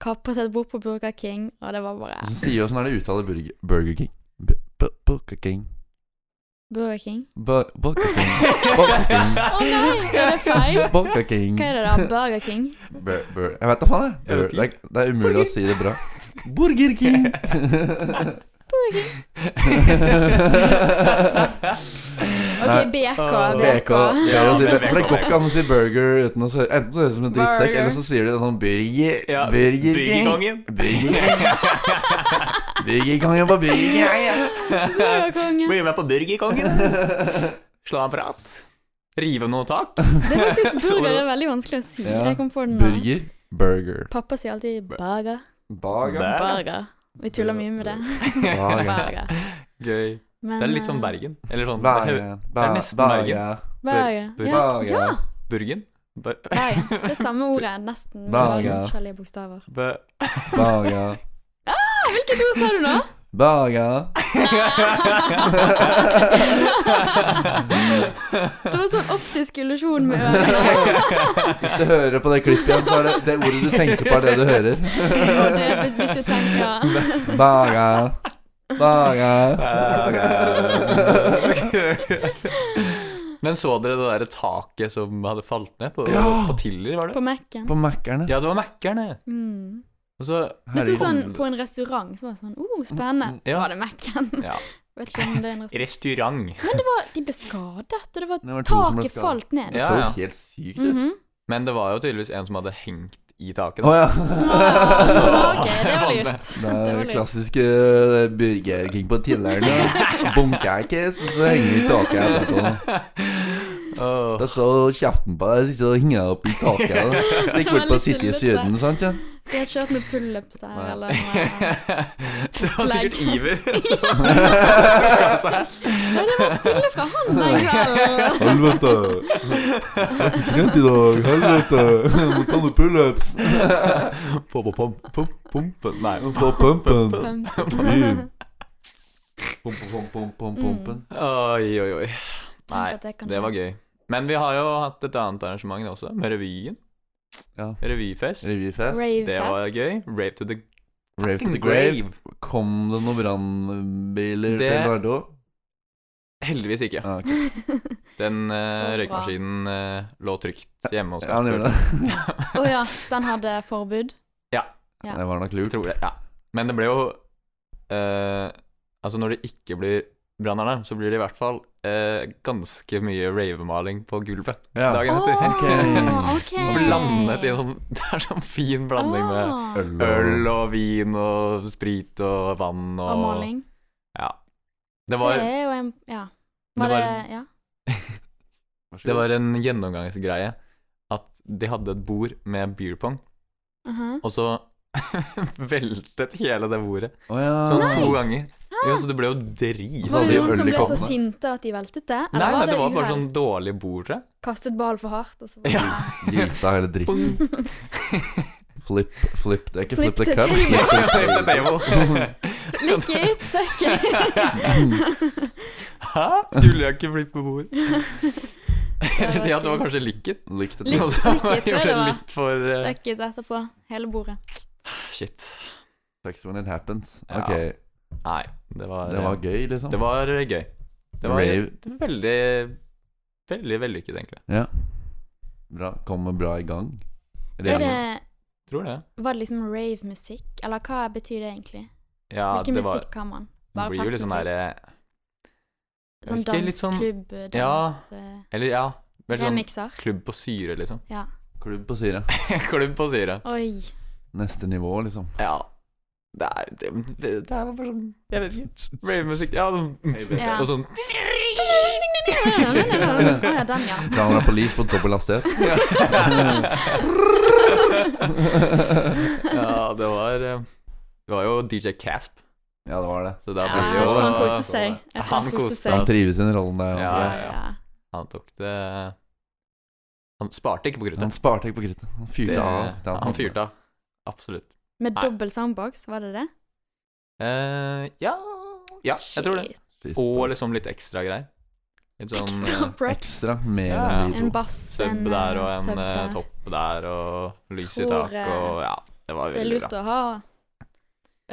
S3: Kappet et bord på Burger King, og det var
S2: Og
S3: bare
S2: så sier jo sånn er det uttaler Burger, Burger King. Bu- bu- Burger King.
S3: Burger King.
S2: Bu- Burger King. Burger King.
S3: Å nei, er det feil?
S2: Burger King.
S3: Hva er det da? Burger King?
S2: Bur, bur. Jeg vet da faen, jeg.
S1: Jeg
S2: Bur,
S1: vet
S2: det, er, det er umulig å si det bra. Burger King.
S3: Burger King.
S2: Nei.
S3: OK, BK.
S1: Åh.
S2: BK.
S3: BK.
S2: det er å si-
S1: Ja, men
S2: For det går ikke an å si burger uten å se Enten så høres det ut som en drittsekk,
S3: Burger.
S2: eller så sier de det sånn Burger,
S1: Ja,
S2: burger King. [LAUGHS]
S1: Byggegangen. [LAUGHS]
S2: Burger King. Burger King er på Burger King.
S3: Burger Kongen.
S1: Bli med på Burgerkongen. Slå en prat. Rive noe tak.
S3: Det er faktisk
S1: Så-
S3: burger er veldig vanskelig å si.
S2: Ja.
S3: Jeg kom på den nå.
S2: Burger, burger.
S3: Pappa sier alltid burger.
S2: Baga.
S1: Burger.
S3: [LAUGHS] Burger. Vi tuller mye med det.
S2: Baga.
S3: Burger.
S1: Gøy.
S3: Men,
S1: Det er litt sånn
S3: eh,
S1: Bergen. Eller sånn det er
S2: Bergen.
S1: det er
S2: Ber-
S1: nesten Bergen.
S2: Bergen.
S3: Bergen.
S1: Bur-
S3: eh, Ja,
S2: Bergen.
S3: ja,
S1: Burgen? Ber,
S3: Bergen. Det er samme ordet, nesten. med
S2: Bergen.
S3: noen forskjellige bokstaver.
S1: be,
S2: [LAUGHS]
S1: [LAUGHS]
S2: Bergen.
S3: Ah, hvilket ord sa du nå?
S2: Bergen.
S3: [LAUGHS] Det var sånn optisk illusjon med ørene.
S2: Hvis du hører på det klippet igjen, så er det det ordet du tenker på, er det du hører.
S3: Det er hvis- Hvis du tenker
S2: Bergen. Bergen.
S1: Men så dere det derre taket som hadde falt ned på,
S2: Ja.
S1: på Tiller, var det?
S3: på Mac-en.
S2: På Mækkerne.
S1: Ja, det var Mækkern,
S3: Mm.
S1: og så
S3: Det sto
S2: Herregud.
S3: sånn på en restaurant, så var det sånn oh,
S2: Mm,
S3: spennende.
S1: Ja.
S3: Var det Mac-en?
S1: Ja.
S3: [LAUGHS] Vet ikke om det er en restaurant.
S1: Restaurant.
S3: Men det var, de ble skadet, og det var,
S2: Det var to som ble
S3: taket
S2: skadet.
S3: falt ned.
S2: Det
S1: Ja,
S2: så
S1: ja.
S2: helt sykt ut.
S3: Mhm.
S1: Men det var jo tydeligvis en som hadde hengt i taket.
S2: Å
S1: Da.
S2: ja.
S3: Ah, ok, det var lurt.
S2: Det
S3: Det
S2: er
S3: var
S2: det
S3: lurt.
S2: klassiske eh, Burger King på Tilleren. Bunkerkes, og så henger vi i taket etterpå.
S1: [LAUGHS] Åh.
S2: Da så kjeften på deg, så henger jeg opp i taket. da. Stikk bort på City i Syden, sant? Ja?
S3: De har kjørt noen pullups der,
S2: Nei.
S3: eller noe.
S1: [LAUGHS] Det var sikkert
S3: Legg.
S1: Iver.
S3: Nei, det var stille fra han den kvelden.
S1: [LAUGHS]
S2: Helvete! Jeg er ikke trent i dag, helvete! Jeg må ta noen pullups!
S1: Pom, pom, pom, pom, pumpen. Nei.
S2: Få pumpen!
S3: Pump.
S2: Pumpen, pumpen, pumpen, pumpen.
S1: Mm. Oi, oi, oi. Nei,
S3: Tenk at det kan
S1: det var
S3: skje.
S1: gøy. Men vi har jo hatt et annet arrangement også, med revyen.
S2: Ja.
S1: Revyfest.
S2: Revyfest.
S1: Det var
S3: Ravefest.
S1: gøy. Rave to the
S2: Rave to the grave.
S1: grave.
S2: Kom det noen brannbiler til
S1: Det-
S2: Garderå?
S1: Heldigvis ikke.
S2: Ja, ok.
S1: Den eh,
S3: Så bra.
S1: røykmaskinen eh, lå trygt hjemme hos
S2: ja, han gjorde
S1: Kasper.
S2: det.
S3: [LAUGHS] Å ja, den hadde forbud. Ja.
S2: Det var nok
S1: [LAUGHS]
S2: lurt.
S1: Tror det, ja. Men det ble jo eh, Altså, når det ikke blir brannalarm, så blir det i hvert fall eh, ganske mye ravemaling på gulvet
S2: Ja.
S1: dagen etter.
S3: Åh, ok.
S1: Blandet i en sånn [LAUGHS] Det er sånn fin blanding med
S3: Ah,
S1: øl og vin og sprit og vann og
S3: Og maling.
S1: Ja. Det
S3: Det
S1: var,
S3: er jo en Ja.
S1: det
S3: Var
S1: var-
S3: det Ja.
S1: det var en gjennomgangsgreie at de hadde et bord med beer pong,
S3: aha.
S1: og så [LAUGHS] veltet hele det bordet
S2: Å ja.
S1: sånn
S3: Ah. Nei.
S1: to ganger. Jo,
S3: Hæ?
S1: så det ble jo drit. Sånn
S2: så
S3: Var
S2: hadde de
S3: det noen som
S2: øl i
S3: ble så
S2: koppene.
S3: sinte at de veltet det?
S1: Nei,
S3: Eller
S1: nei,
S3: var
S1: det
S3: det
S1: var bare
S3: uhell?
S1: sånn dårlig bord,
S3: [LAUGHS]
S1: tror jeg.
S3: Kastet ball for hardt, og så
S1: Ja.
S2: Gilta hele dritten.
S3: [LAUGHS]
S2: Flip, flip Det er ikke
S3: Flip
S2: flip, the
S3: the
S2: cup.
S1: Flip
S2: [LAUGHS]
S3: table.
S1: the table.
S3: Lick it, suck it.
S1: [LAUGHS]
S3: [LAUGHS]
S1: Hæ? Skulle jeg ikke flippe
S3: [LAUGHS]
S1: bord? [LAUGHS]
S3: var
S1: ja, det var
S3: gøy.
S1: kanskje likket.
S2: Likt
S3: Likt.
S1: [LAUGHS] Og så
S3: likket, tror jeg det
S1: gjorde
S3: var.
S1: Litt for eh,
S3: Suck it etterpå. Hele bordet.
S1: Shit.
S2: Sex when it happens.
S1: Ja.
S2: Ok,
S1: Nei, det var eh,
S2: det var gøy, liksom.
S1: Det var gøy. Det var
S2: Rave.
S1: veldig Veldig vellykket, egentlig.
S2: Bra. Kommer bra i gang.
S3: Er
S2: Regjeringen.
S3: det,
S1: Tror det.
S3: var det liksom rave-musikk? Eller hva betyr det egentlig?
S1: Ja,
S3: Hvilken
S1: det var
S3: musikk har man?
S1: Det
S3: Bare
S1: blir jo litt sånn
S3: festmusikk?
S1: derre Jeg
S3: Sånn
S1: husker litt sånn-
S3: dansklubb, dans,
S1: Ja.
S3: eh,
S1: Eller ja, vel sånn
S3: remixer?
S1: klubb på syre, liksom. [LAUGHS]
S3: Ja.
S2: Klubb på Syria.
S1: klubb på syre.
S3: Oi.
S2: Neste nivå, liksom.
S1: Ja. Det er, det, det er bare sånn Jeg vet ikke. Rave-musikk. Ja, sånn
S3: Ja.
S1: Og sånn
S3: Å ja, den,
S2: [LAUGHS]
S3: ja.
S2: Kamera police på dobbel hastighet.
S3: [LAUGHS]
S1: Ja, det var eh, Det var jo DJ Casp,
S2: Ja, det var det.
S1: så da
S3: Ja,
S1: ble det
S3: jeg
S1: jo
S3: tror han koste seg. Jeg tror
S1: Han
S3: han koste
S1: koste
S2: Han
S1: seg.
S3: seg.
S2: trives i den rollen der.
S1: Ja,
S2: Han,
S1: ja, ja. Han tok det eh, Han sparte ikke på
S2: han
S1: kruttet.
S2: sparte ikke på kruttet. Han fyrte
S1: Det-
S2: av. Det
S1: Han fyrte av. Absolutt.
S3: Med
S1: Nei.
S3: dobbel soundbox, var det det?
S1: Eh, ja Ja, jeg tror det.
S3: Shit.
S2: Shit,
S1: Og
S2: ass.
S1: liksom litt ekstra greier. Litt sånn
S3: Ekstra
S1: eh,
S3: props.
S2: Ekstra mer
S1: Ja, ja.
S2: enn vi
S3: En
S2: to.
S3: bass, en
S1: sub der og
S3: eh,
S1: en
S3: sub
S1: eh,
S3: der.
S1: topp der og lys i
S3: Tror,
S1: taket
S3: eh,
S1: og ja, det var
S3: Det er
S1: veldig
S3: lurt
S1: bra.
S3: å ha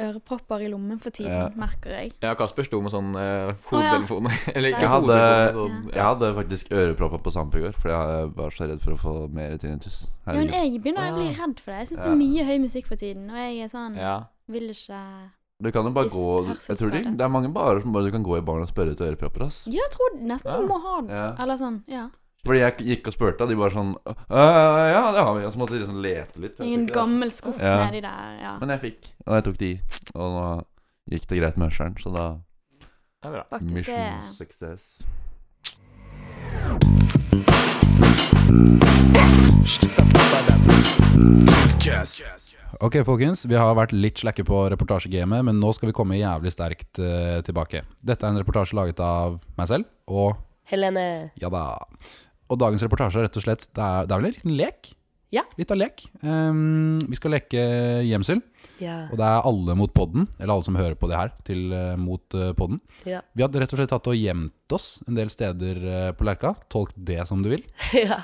S3: ørepropper i lommen for tiden,
S2: Ja.
S3: merker jeg.
S1: Ja, Kasper sto med sånn eh,
S3: ja.
S1: hodetelefoner. [LAUGHS] Eller ikke
S3: Jeg
S2: hadde-
S1: hodetelefoner, sånn
S2: Jeg hadde faktisk ørepropper på Samp i går, for jeg var så redd for å få mer tinnitus.
S3: Ja, men
S2: Herregud.
S3: jeg begynner å bli
S1: Ja.
S3: redd for det. Jeg syns det
S2: Ja.
S3: er mye høy musikk for tiden, og jeg er sånn
S1: Ja.
S3: Vil ikke
S2: Du kan jo bare
S3: Hvis
S2: gå jeg tror det,
S3: hørselsskade.
S2: det er mange barer som bare du kan gå i baren og spørre etter ørepropper, ass.
S3: Ja, jeg tror nesten
S1: Ja.
S3: du må ha den.
S2: Ja.
S3: Eller sånn, ja.
S2: Fordi jeg gikk og spurte, og de bare sånn «Øh, Ja, det har vi. Og så måtte de liksom lete litt. Jeg
S3: I
S2: fikk
S3: en
S2: det, altså.
S3: gammel skuff
S2: Ja.
S3: nedi der. Ja,
S2: Men jeg fikk. Og jeg tok de. Og nå gikk det greit med hørselen, så da
S1: Det er bra.
S3: faktisk det.
S2: Mission success.
S4: Ok, folkens. Vi har vært litt slakke på reportasjegamet, men nå skal vi komme jævlig sterkt eh, tilbake. Dette er en reportasje laget av meg selv, og
S5: Helene.
S4: ja da. Og dagens reportasje er rett og slett Det er, det er vel en liten lek?
S5: Ja.
S4: Litt av lek. Ehm, vi skal leke gjemsel,
S5: Ja.
S4: og det er alle mot podden, eller alle som hører på det her, til eh, mot eh, podden.
S5: Ja. [LAUGHS]
S4: Vi hadde rett og slett tatt og gjemt oss en del steder eh, på Lerka. Tolk det som du vil.
S5: ja.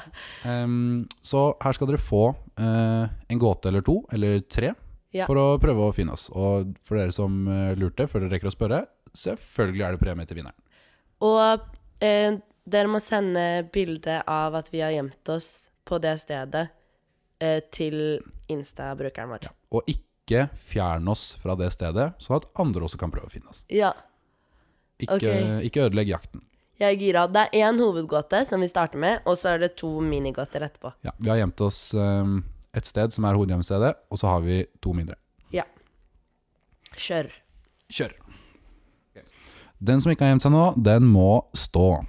S4: Ehm, så her skal dere få eh, en gåte eller to, eller tre,
S5: Ja.
S4: for å prøve å finne oss. Og for dere som eh, lurte, før dere rekker å spørre, selvfølgelig er det premie til vinneren.
S5: Og eh, dere må sende bilde av at vi har gjemt oss på det stedet, eh, til Insta-brukeren vår.
S4: Ja. Og ikke fjern oss fra det stedet, sånn at andre også kan prøve å finne oss.
S5: Ja.
S4: Ikke,
S5: Ok.
S4: ikke ødelegg jakten.
S5: Jeg er gira. Det er én hovedgåte som vi starter med, og så er det to minigåter etterpå.
S4: Ja, vi har gjemt oss ehm, et sted som er hovedhjemstedet, og så har vi to mindre.
S5: Ja. Kjør.
S4: Kjør. Den som ikke har gjemt seg nå, den må stå.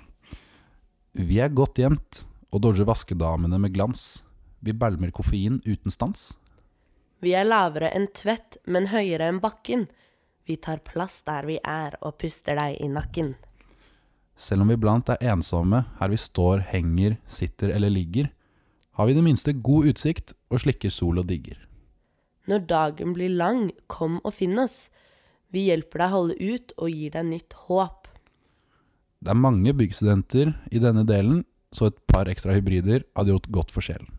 S4: Vi er godt gjemt og dodger vaskedamene med glans. Vi bælmer koffein uten stans.
S5: Vi er lavere enn tvett, men høyere enn bakken. Vi tar plass der vi er, og puster deg i nakken.
S4: Selv om vi blant er ensomme her vi står, henger, sitter eller ligger, har vi i det minste god utsikt og slikker sol og digger.
S5: Når dagen blir lang, kom og finn oss. Vi hjelper deg å holde ut og gir deg nytt håp.
S4: Det er mange byggstudenter i denne delen, så et par ekstra hybrider hadde gjort godt for sjelen.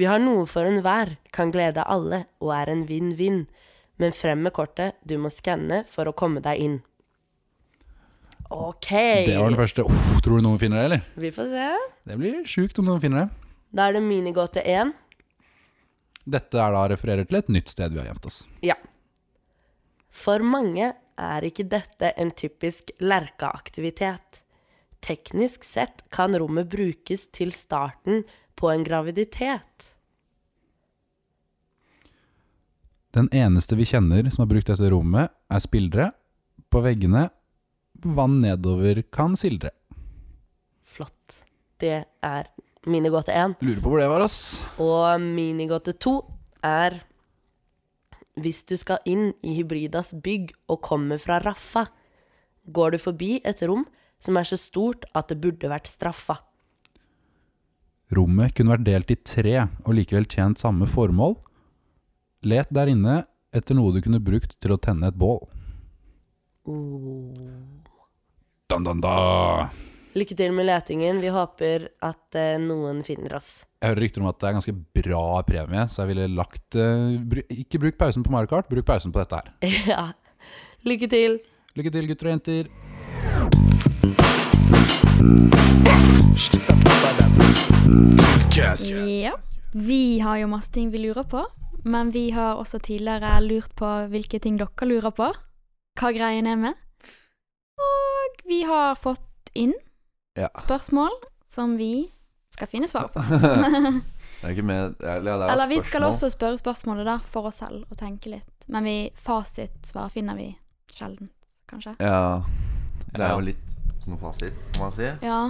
S5: Vi har noe for enhver, kan glede alle og er en vinn-vinn. Men frem med kortet, du må skanne for å komme deg inn. OK.
S4: Det var den første. Uff, tror du noen finner det, eller?
S5: Vi får se.
S4: Det blir sjukt om noen finner det.
S5: Da er det minigåte én.
S4: Dette er da refererer til et nytt sted vi har gjemt oss.
S5: Ja. For mange er ikke dette en typisk lerkeaktivitet. Teknisk sett kan rommet brukes til starten på en graviditet.
S4: Den eneste vi kjenner som har brukt dette rommet, er spillere. På veggene vann nedover kan sildre.
S5: Flott. Det er minigåte én.
S4: Lurer på hvor det var, ass.
S5: Og minigåte to er Hvis du skal inn i Hybridas bygg og kommer fra Raffa, går du forbi et rom som er så stort at det burde vært straffa.
S4: Rommet kunne vært delt i tre og likevel tjent samme formål. Let der inne etter noe du kunne brukt til å tenne et bål. Dan, dan, da.
S5: Lykke til med letingen. Vi håper at eh, noen finner oss. [LAUGHS]
S4: Jeg hører rykter om at det er ganske bra premie, så jeg ville lagt eh, bru- Ikke bruk pausen på Mario Kart, bruk pausen på dette her.
S5: ja. Lykke til.
S4: Lykke til, gutter og jenter.
S3: Ja. Vi har jo masse ting vi lurer på, men vi har også tidligere lurt på hvilke ting dere lurer på. Hva greien er med. Og vi har fått inn
S2: Ja.
S3: spørsmål som vi skal finne
S2: [LAUGHS]
S3: svar på. [LAUGHS]
S2: Det er ikke med ja, det er
S3: Eller vi skal
S2: spørsmål.
S3: også spørre spørsmålet da, for oss selv og tenke litt. Men vi, fasitsvar finner vi sjelden, kanskje.
S2: Ja. Det er
S1: Ja.
S2: jo litt sånn fasit, kan man si.
S3: Ja.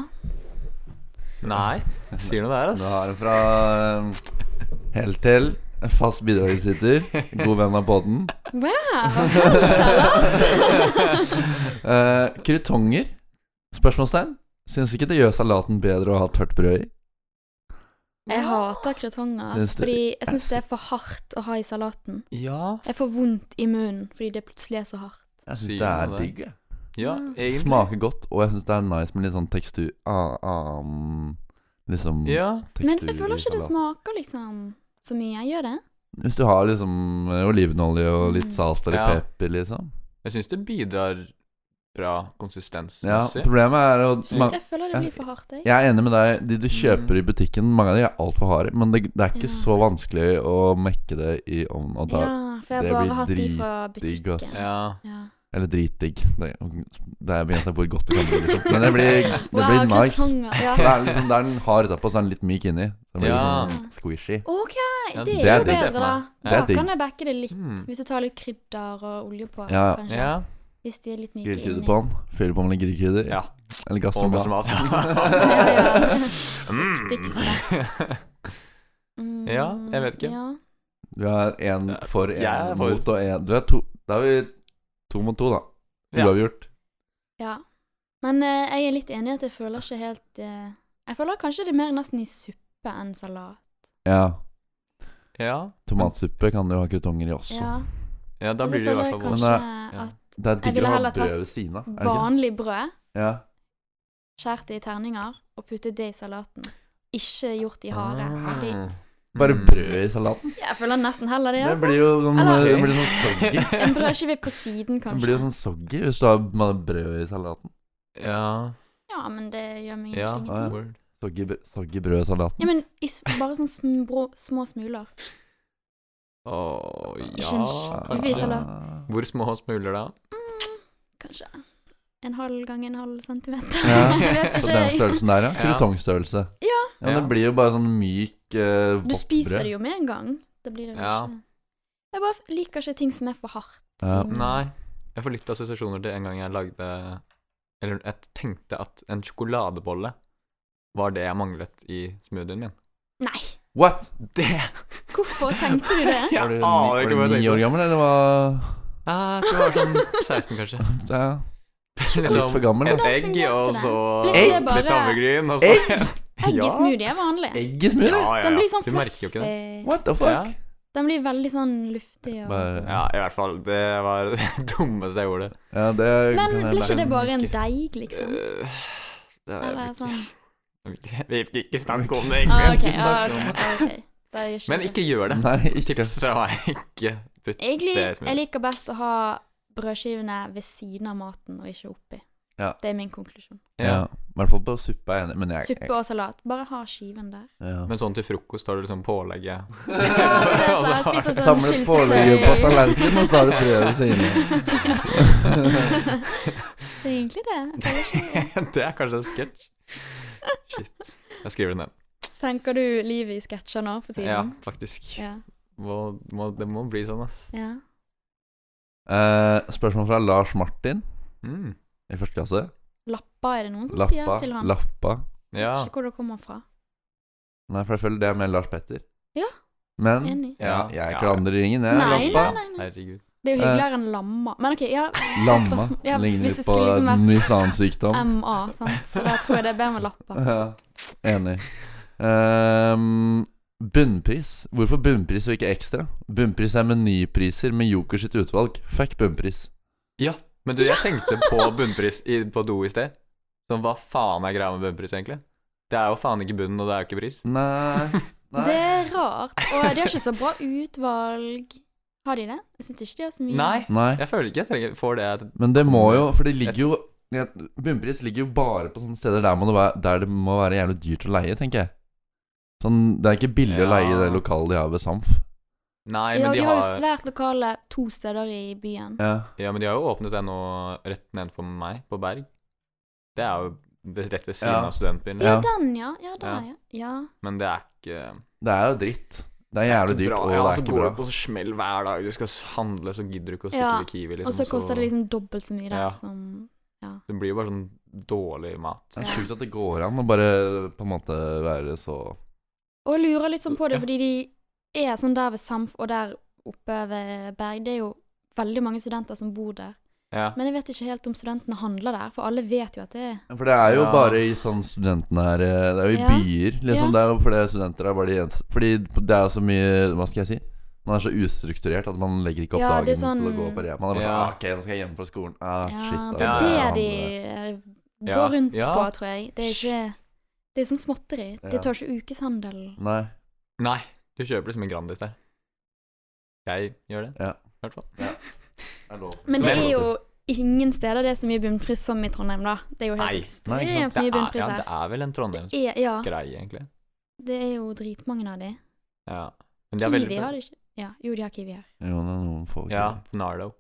S1: Nei, [LAUGHS] sier noe der,
S2: Du har
S1: ass.
S2: det fra um, helt til en fast bidragsyter, god venn av podden.
S3: Wow, tell oss!
S2: [LAUGHS] Eh, Krytonger? Spørsmålstegn? Syns ikke det gjør salaten bedre å ha tørt brød i?
S3: [LAUGHS] jeg hater krutonger,
S2: Syns du-
S3: fordi jeg syns det er for hardt å ha i salaten.
S1: Ja,
S3: Jeg får vondt i munnen fordi det plutselig er så hardt.
S2: Jeg
S1: Sier
S2: syns det er
S1: man det?
S2: digg. jeg.
S1: ja,
S3: Mm.
S1: egentlig.
S2: Smaker godt, og jeg syns det er nice med litt sånn tekstur ah, ah, Liksom
S1: Ja.
S2: tekstur
S3: Men jeg føler ikke det
S2: i salaten.
S3: smaker liksom så mye. Gjør det?
S2: Hvis du har liksom eh, olivenolje og
S3: Mm.
S2: litt salt eller
S1: Ja.
S2: pepper, liksom.
S1: Jeg syns det bidrar bra
S2: Ja,
S1: konsistensmessig.
S2: problemet er å man,
S3: Jeg føler det blir for hardt, jeg.
S2: Jeg er enig med deg. De du kjøper
S1: Mm.
S2: i butikken, mange av de er altfor harde. Men det, det er
S3: Ja.
S2: ikke så vanskelig å mekke det i ovnen. Og da,
S3: Ja, for jeg
S2: det
S3: har bare
S2: blir
S3: hatt de fra
S2: digg, ass.
S3: butikken.
S1: Ja.
S3: Ja.
S2: Eller dritdigg. Det, det er begrensa hvor godt det kan bli. Liksom. Men det
S3: [LAUGHS]
S2: blir, det blir
S3: Wow,
S2: nice. [LAUGHS]
S3: krutonger, Ja.
S2: For det er liksom, det er den hard utapå, så er den litt myk inni. Den blir
S1: Ja.
S2: litt sånn squishy.
S3: Ok,
S1: Ja,
S3: det
S1: det
S3: er
S1: er
S3: jo
S1: digg.
S3: bedre, da.
S1: Ja.
S2: Det
S3: Da
S2: er digg.
S3: kan jeg backe det litt.
S1: Mm.
S3: Hvis du tar litt krydder og olje på,
S2: Ja.
S3: kanskje.
S1: ja.
S3: Hvis de er litt myke
S2: Grillkrydder
S3: inni.
S2: på den. Fyller på med litt grillkrydder.
S1: Ja.
S2: Eller gass
S1: Og
S2: som [LAUGHS]
S1: masse mat.
S3: Ja, ja.
S1: Mm.
S3: [LAUGHS] Viktigste. Mm,
S1: Ja, jeg vet ikke.
S3: Ja.
S2: Du er én for,
S1: Jeg er
S2: én
S1: for.
S2: mot og én Du er to. Da er vi to mot to, da.
S1: Ja.
S2: Uavgjort.
S3: Ja. Men eh, jeg er litt enig i at jeg føler ikke helt eh, Jeg føler kanskje det er mer nesten i suppe enn salat.
S2: Ja.
S1: Ja,
S2: Tomatsuppe kan du ha krutonger i også.
S3: Ja.
S1: ja da
S3: Og så
S1: blir det i
S3: føler
S1: hvert
S3: jeg
S1: fall
S2: vondt.
S3: kanskje
S1: Ja.
S3: at
S2: Det eh, er
S3: Jeg
S2: digg
S3: ville
S2: å ha
S3: heller tatt
S2: brød ved siden av. er det ikke det?
S3: vanlig brød,
S2: Ja.
S3: skåret i terninger, og putte det i salaten. Ikke gjort i hare. fordi-
S1: Ah.
S2: Bare
S1: Mm.
S2: brød i salaten.
S3: Jeg føler nesten heller det,
S2: Det
S3: altså.
S2: blir jo sånn,
S3: Eller-
S2: det blir sånn
S3: [LAUGHS]
S2: soggy.
S3: En brødskive på
S2: [LAUGHS]
S3: siden,
S2: Det blir jo
S3: kanskje.
S2: sånn soggy hvis du har med brød i salaten.
S1: Ja,
S3: Ja, men det gjør meg
S1: ja.
S3: ingenting.
S2: sånn- ja.
S1: word.
S2: Soggy, br- soggy brød i salaten.
S3: Ja, men i, s- bare sånn små, små smuler.
S1: Åh,
S3: Ikke en
S1: ja
S3: skikkelig
S1: kanskje.
S3: salat.
S1: Hvor små smuler da?
S3: Mm, kanskje en halv gang en halv centimeter.
S2: Ja.
S3: [LAUGHS] jeg vet
S2: Så
S3: ikke.
S2: den størrelsen der, ja.
S1: Ja.
S2: Krutongstørrelse.
S3: Ja,
S2: Ja, men
S1: Ja.
S2: det blir jo bare sånn myk eh,
S3: du
S2: vått
S3: spiser
S2: brød.
S3: det jo med en gang. Da blir det jo
S1: Ja.
S3: ikke Jeg bare f- liker ikke ting som er for hardt.
S2: Ja.
S3: Mm.
S1: Nei. Jeg får litt assosiasjoner til en gang jeg lagde Eller jeg tenkte at en sjokoladebolle var det jeg manglet i smoothien min.
S3: Nei,
S2: What?
S1: Det!
S3: hvorfor tenkte
S1: [LAUGHS]
S3: du det?
S1: Jeg
S2: Var du, ni,
S1: aner ikke hva
S2: var du
S1: ah, jeg
S2: ni år
S1: tenkte.
S2: gammel, eller hva?
S1: Ah, jeg tror jeg var sånn 16, kanskje.
S2: Ja. Litt
S1: Liksom
S2: for gammel,
S1: et
S2: da.
S3: Hvordan
S1: egg,
S3: fungerte
S1: og
S3: det?
S1: så
S3: Blir ikke det
S1: litt
S3: bare-
S1: havregryn, og så
S3: Egg i
S1: Ja.
S3: smoothie er vanlig.
S2: Egg i smoothie?
S1: Ja, ja,
S3: Den
S1: ja.
S3: blir sånn
S1: Du merker jo ikke det.
S3: fluffy.
S2: What the
S1: Ja.
S2: fuck?
S3: Den blir veldig sånn luftig og
S2: Bare-
S1: Ja, i hvert fall. Det var det [LAUGHS] dummeste jeg gjorde.
S2: Ja, det kan
S3: Men
S2: jeg
S3: blir ikke
S2: lære.
S3: det bare en
S1: Ikke-
S3: deig, liksom?
S1: Øh, det var-
S3: Eller sånn
S1: [LAUGHS] Vi skal ikke snakke om det,
S2: Vi skal
S1: [LAUGHS]
S3: ah,
S1: egentlig.
S3: OK. Ah, ok, ok. Da gjør ikke
S1: Men
S3: det.
S1: ikke gjør det.
S2: Nei, ikke.
S1: Tips fra meg. Ikke putt
S3: Egentlig
S1: det i smoothie.
S3: jeg liker best å ha brødskivene ved siden av maten og ikke oppi.
S2: Ja.
S3: Det er min konklusjon.
S2: Ja.
S1: Ja.
S2: I hvert fall på suppe er jeg enig, men jeg,
S3: Suppe og salat. Bare ha
S1: [LAUGHS]
S3: skiven der.
S2: jeg ja.
S1: Men sånn til frokost har du liksom pålegget
S3: [LAUGHS] Ja, det er så jeg
S1: Altså,
S3: spiser sånn
S2: Samle pålegget
S3: [LAUGHS]
S2: på
S3: syltetøy.
S2: tallerkenen, og så har du brødet ved siden av.
S3: Det er egentlig det. Jeg føler ikke-
S1: [LAUGHS] [LAUGHS] Det er kanskje en sketsj. Shit. Jeg skriver det ned.
S3: Tenker du livet i sketsjer nå for
S1: Ja,
S3: tiden?
S1: faktisk.
S3: Ja.
S1: Må, må, det må bli sånn, ass.
S3: ja.
S2: Eh, spørsmål fra Lars Martin
S1: Mm.
S2: i første klasse.
S3: Lappa er det noen som
S2: Lappa.
S3: sier til ham.
S2: Lappa.
S1: Ja.
S3: Vet ikke hvor det kommer fra.
S2: Nei, for jeg føler det er med Lars Petter.
S3: Ja.
S2: Men
S3: Enig.
S2: ja,
S1: Ja.
S2: jeg klandrer ingen, jeg.
S3: Nei, nei,
S2: Lappa.
S3: nei. nei.
S1: Herregud.
S3: Det er jo hyggeligere enn lamma. Men OK, ja.
S2: Lamma.
S3: spørsmål- Ja,
S2: Ligner
S3: hvis
S2: litt
S3: det
S2: på
S3: skulle liksom vært
S2: viss annen sykdom.
S3: MA, sant? så da tror jeg det er bedre
S1: [LAUGHS]
S3: med lappa.
S2: [LAUGHS] Ja, enig. Ehm, bunnpris. Hvorfor bunnpris og ikke ekstra? Bunnpris er menypriser med Joker sitt utvalg. Fuck bunnpris.
S1: Men du, jeg tenkte på bunnpris i, på do i sted. Sånn, hva faen er greia med bunnpris, egentlig? Det er jo faen ikke bunn, og det er jo ikke pris.
S3: [LAUGHS]
S2: Nei.
S3: Det
S2: Nei.
S3: er rart. Og de har ikke så bra utvalg. Har de det? Jeg syns ikke de har så mye.
S1: Nei.
S2: Nei.
S1: Jeg føler ikke jeg trenger får det.
S2: Men det må jo For det ligger jo jeg- Bunnpris ligger jo bare på sånne steder der, må det være, der det må være jævlig dyrt å leie, tenker jeg. Sånn, Det er ikke billig å leie i det
S1: Ja.
S2: lokalet de har ved Samf.
S1: Nei,
S3: ja,
S1: men
S3: de
S1: de
S3: har jo
S1: har,
S3: svært lokale to steder i byen.
S2: Ja.
S1: ja, men de har jo åpnet en nå rett nedenfor meg, på Berg. Det er jo rett ved siden
S2: Ja.
S1: av studentbyen.
S3: Ja,
S2: Ja.
S3: den, ja. Ja, der,
S1: Ja.
S3: ja. ja.
S1: Men det er ikke
S2: Det er jo dritt. Det er jævlig dyrt, og
S1: Ja,
S2: det er
S1: så
S2: ikke
S1: går
S2: bra.
S1: du på smell hver dag. Du skal handle, så gidder du ikke å stikke
S3: Ja,
S1: til Kiwi. Liksom,
S3: Og så koster det liksom dobbelt så mye der
S1: Ja.
S3: som
S1: Det blir jo bare sånn dårlig mat.
S2: Det er sjukt at det går an å bare på en måte være så
S3: Og jeg lurer litt sånn på det,
S1: Ja.
S3: fordi de er sånn der ved Samf og der oppe ved Berg. Det er jo veldig mange studenter som bor der.
S1: Ja.
S3: Men jeg vet ikke helt om studentene handler der, for alle vet jo at det er
S2: For det er jo
S1: Ja.
S2: bare i sånn studentene her eh, Det er jo i
S3: Ja.
S2: byer, liksom.
S3: Ja.
S2: Det er jo fordi studenter er bare de eneste Fordi det er jo så mye Hva skal jeg si? Man er så ustrukturert at man legger ikke opp
S3: Ja,
S2: dagen
S3: det er sånn-
S2: til å gå på rep. Man er bare sånn
S1: Ja.
S2: ah, Ok, nå skal jeg hjem fra skolen. Ah, shit.
S3: Ja,
S2: da
S3: det
S1: ja,
S3: er
S2: må
S3: det
S2: jeg
S1: ja.
S2: handle.
S3: de eh,
S1: Ja,
S3: går rundt
S1: ja.
S3: på, tror jeg. Det er ikke Det er sånn småtteri.
S2: Ja.
S3: Det tar ikke ukeshandel.
S2: Nei.
S1: Nei, du kjøper liksom en Grandis der. Jeg gjør det.
S2: Ja.
S1: I hvert fall.
S2: det er lov.
S3: Men det
S1: Men-
S3: er jo ingen steder det er så mye bunnpris som i Trondheim, da. Det er jo helt
S1: Nei.
S2: Nei, ikke sant.
S3: ekstremt mye
S1: er,
S3: bunnpris
S1: ja,
S3: her.
S1: det er vel en Trondheims
S3: Det er, ja,
S1: greie, egentlig.
S3: det er jo dritmange av de.
S1: Ja. Men de er
S3: Kiwi
S1: veldig
S3: har de ikke. Ja, jo, de har Kiwi her.
S2: Jo, det er noen få
S1: Ja, Nardo.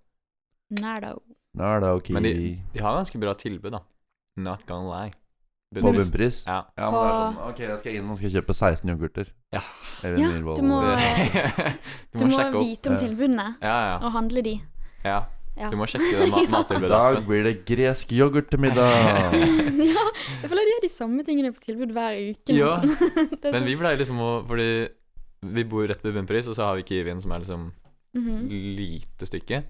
S3: Nardo.
S2: Da er det ok
S1: Men De har ganske bra tilbud, da. Not gonna lie.
S2: på bunnpris.
S1: Ja.
S2: Ja, men det er sånn Ok, jeg skal inn og skal kjøpe 16 yoghurter.
S1: Ja.
S2: Eller
S3: Ja,
S2: Myhrvold.
S3: du må-
S1: [LAUGHS] du
S3: Du
S1: må
S3: må
S1: sjekke opp.
S3: vite om
S2: Ja.
S3: tilbudene
S1: Ja, ja.
S3: og handle de.
S1: ja.
S3: Ja.
S1: Du må sjekke det ma
S3: [LAUGHS] Ja.
S2: I
S1: mattilbudet.
S2: dag blir det gresk yoghurt til
S1: [LAUGHS]
S2: middag.
S3: ja, jeg føler de har de samme tingene på tilbud hver uke,
S1: Ja,
S3: nesten. [LAUGHS] Det er
S1: Men
S3: sånn-
S1: vi pleier liksom å Fordi Vi bor rett ved Bunnpris, og så har vi Kiwien, som er liksom
S3: Mhm.
S1: lite stykke.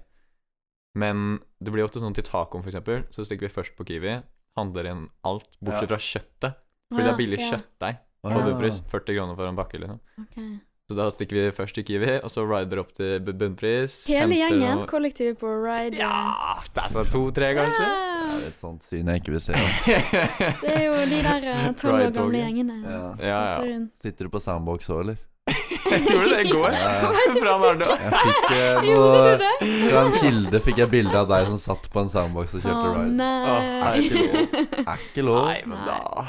S1: Men det blir ofte sånn til tacoen, for eksempel. Så stikker vi først på Kiwi, handler inn alt, bortsett fra kjøttet. Fordi det er billig
S3: Ah, Ja, ja.
S1: kjøttdeig på
S2: Ah.
S3: Ja.
S1: Bunnpris. 40 kroner for en pakke, liksom.
S3: Ok.
S1: Så da stikker vi først til Kiwi, og så rider opp til Bu- Bunnpris.
S3: Hele
S1: henter
S3: gjengen,
S1: noe-
S3: kollektivet på ride.
S1: Ja, det er sånn to-tre, kanskje.
S2: Det
S3: Wow.
S2: er et sånt syn jeg ikke vil se.
S3: [LAUGHS]
S2: ass.
S3: Det er jo
S1: [LAUGHS]
S3: de der eh, tolv år gamle
S1: Pride-toget.
S3: gjengene.
S2: Ja.
S3: som
S1: Ja, ja.
S3: ser rundt.
S2: Sitter du på soundbox òg, eller?
S1: [LAUGHS] Gjorde du det i
S3: [LAUGHS]
S1: går?
S2: Ja.
S1: Fra Nardo.
S2: Jeg fikk eh,
S3: Gjorde
S2: noe
S3: du det?
S2: Fra en kilde fikk jeg bilde av deg som satt på en soundbox og
S3: Å
S2: kjørte ride.
S1: Å,
S3: [LAUGHS] nei.
S1: herregud.
S2: Er ikke lov.
S1: Nei, men da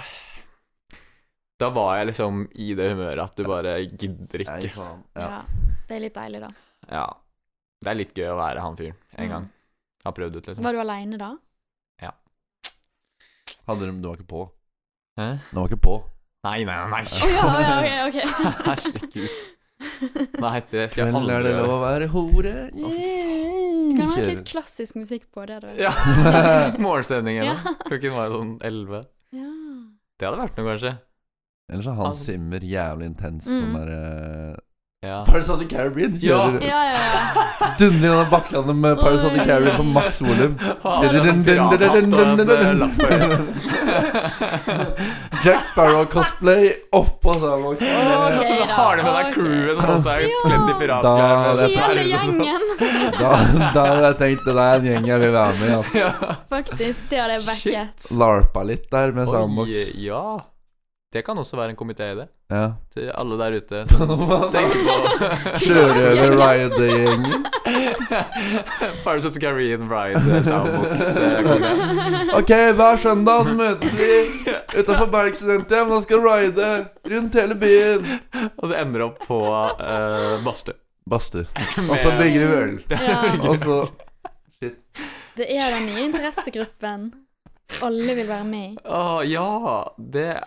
S1: Da var jeg liksom i det humøret at du bare gidder
S2: Nei,
S1: ikke.
S2: faen. Ja.
S3: Ja, det er litt deilig, da.
S1: Ja. Det er litt gøy å være han fyren en
S3: Mm.
S1: gang. Jeg har prøvd ut, liksom.
S3: Var du
S1: [LAUGHS]
S3: aleine da?
S2: Hadde de, du var ikke på.
S1: Hæ?
S2: Du var ikke på.
S1: Nei, nei,
S3: [LAUGHS]
S1: nei.
S3: Å ja, å ja, ok, ok.
S1: Herregud.
S3: [LAUGHS]
S1: Nei, det skal jeg
S2: Vel,
S1: aldri
S2: er det lov
S1: gjøre.
S2: å være hore?
S3: Å, fy Du kan ha hatt litt klassisk musikk på det. Da.
S1: Ja.
S2: [LAUGHS]
S1: Morgenstemning
S3: Ja.
S1: igjen. Klokken var jo sånn elleve.
S3: [LAUGHS] Ja.
S1: Det hadde vært noe, kanskje.
S2: Ellers er Hans
S1: Altså-
S2: Zimmer jævlig intens
S3: Mm.
S2: sånn der eh,
S1: Ja.
S2: Paris of the Caribbean kjører
S3: Ja, ja, ja.
S2: Dundrer gjennom bakklandet med Paris of the
S3: Oi.
S2: Caribbean på maks volum.
S1: Faen, det er sånn pirathatt og en, eh,
S2: [LAUGHS]
S1: lapp på øyet.
S2: Jack Sparrow-cosplay oppå soundboxen.
S3: Ok,
S1: [LAUGHS] Og så
S3: da.
S1: har du med deg
S3: Ok.
S1: crewet som også er
S3: Ja.
S1: kledd i piratklær.
S2: Da-
S1: med
S2: det er
S3: Hele
S1: sverd og sånn.
S3: gjengen,
S2: Da, da hadde jeg tenkt det der er en gjeng jeg vil være med i. ass.
S1: Ja.
S3: faktisk. Det hadde jeg backet.
S2: Larpa litt der med
S1: Oi,
S2: soundbox.
S1: ja. Det kan også være en komité-idé
S2: Ja.
S1: til alle der ute.
S2: [LAUGHS]
S1: som tenker på [LAUGHS]
S2: Sjørøver Riot-gjengen.
S1: Pirates of the Caribbean Ride Soundbox. eh, konge.
S2: Ok, hver søndag så møtes
S1: [LAUGHS]
S2: vi utafor Berg studenthjem. Da skal vi ride rundt hele byen.
S1: Og så ender det opp på uh, Bastø.
S2: Badstue. Og så bygger vi øl.
S3: Ja.
S2: Og så
S3: Det er den nye interessegruppen alle vil være med i.
S1: Å, ja, det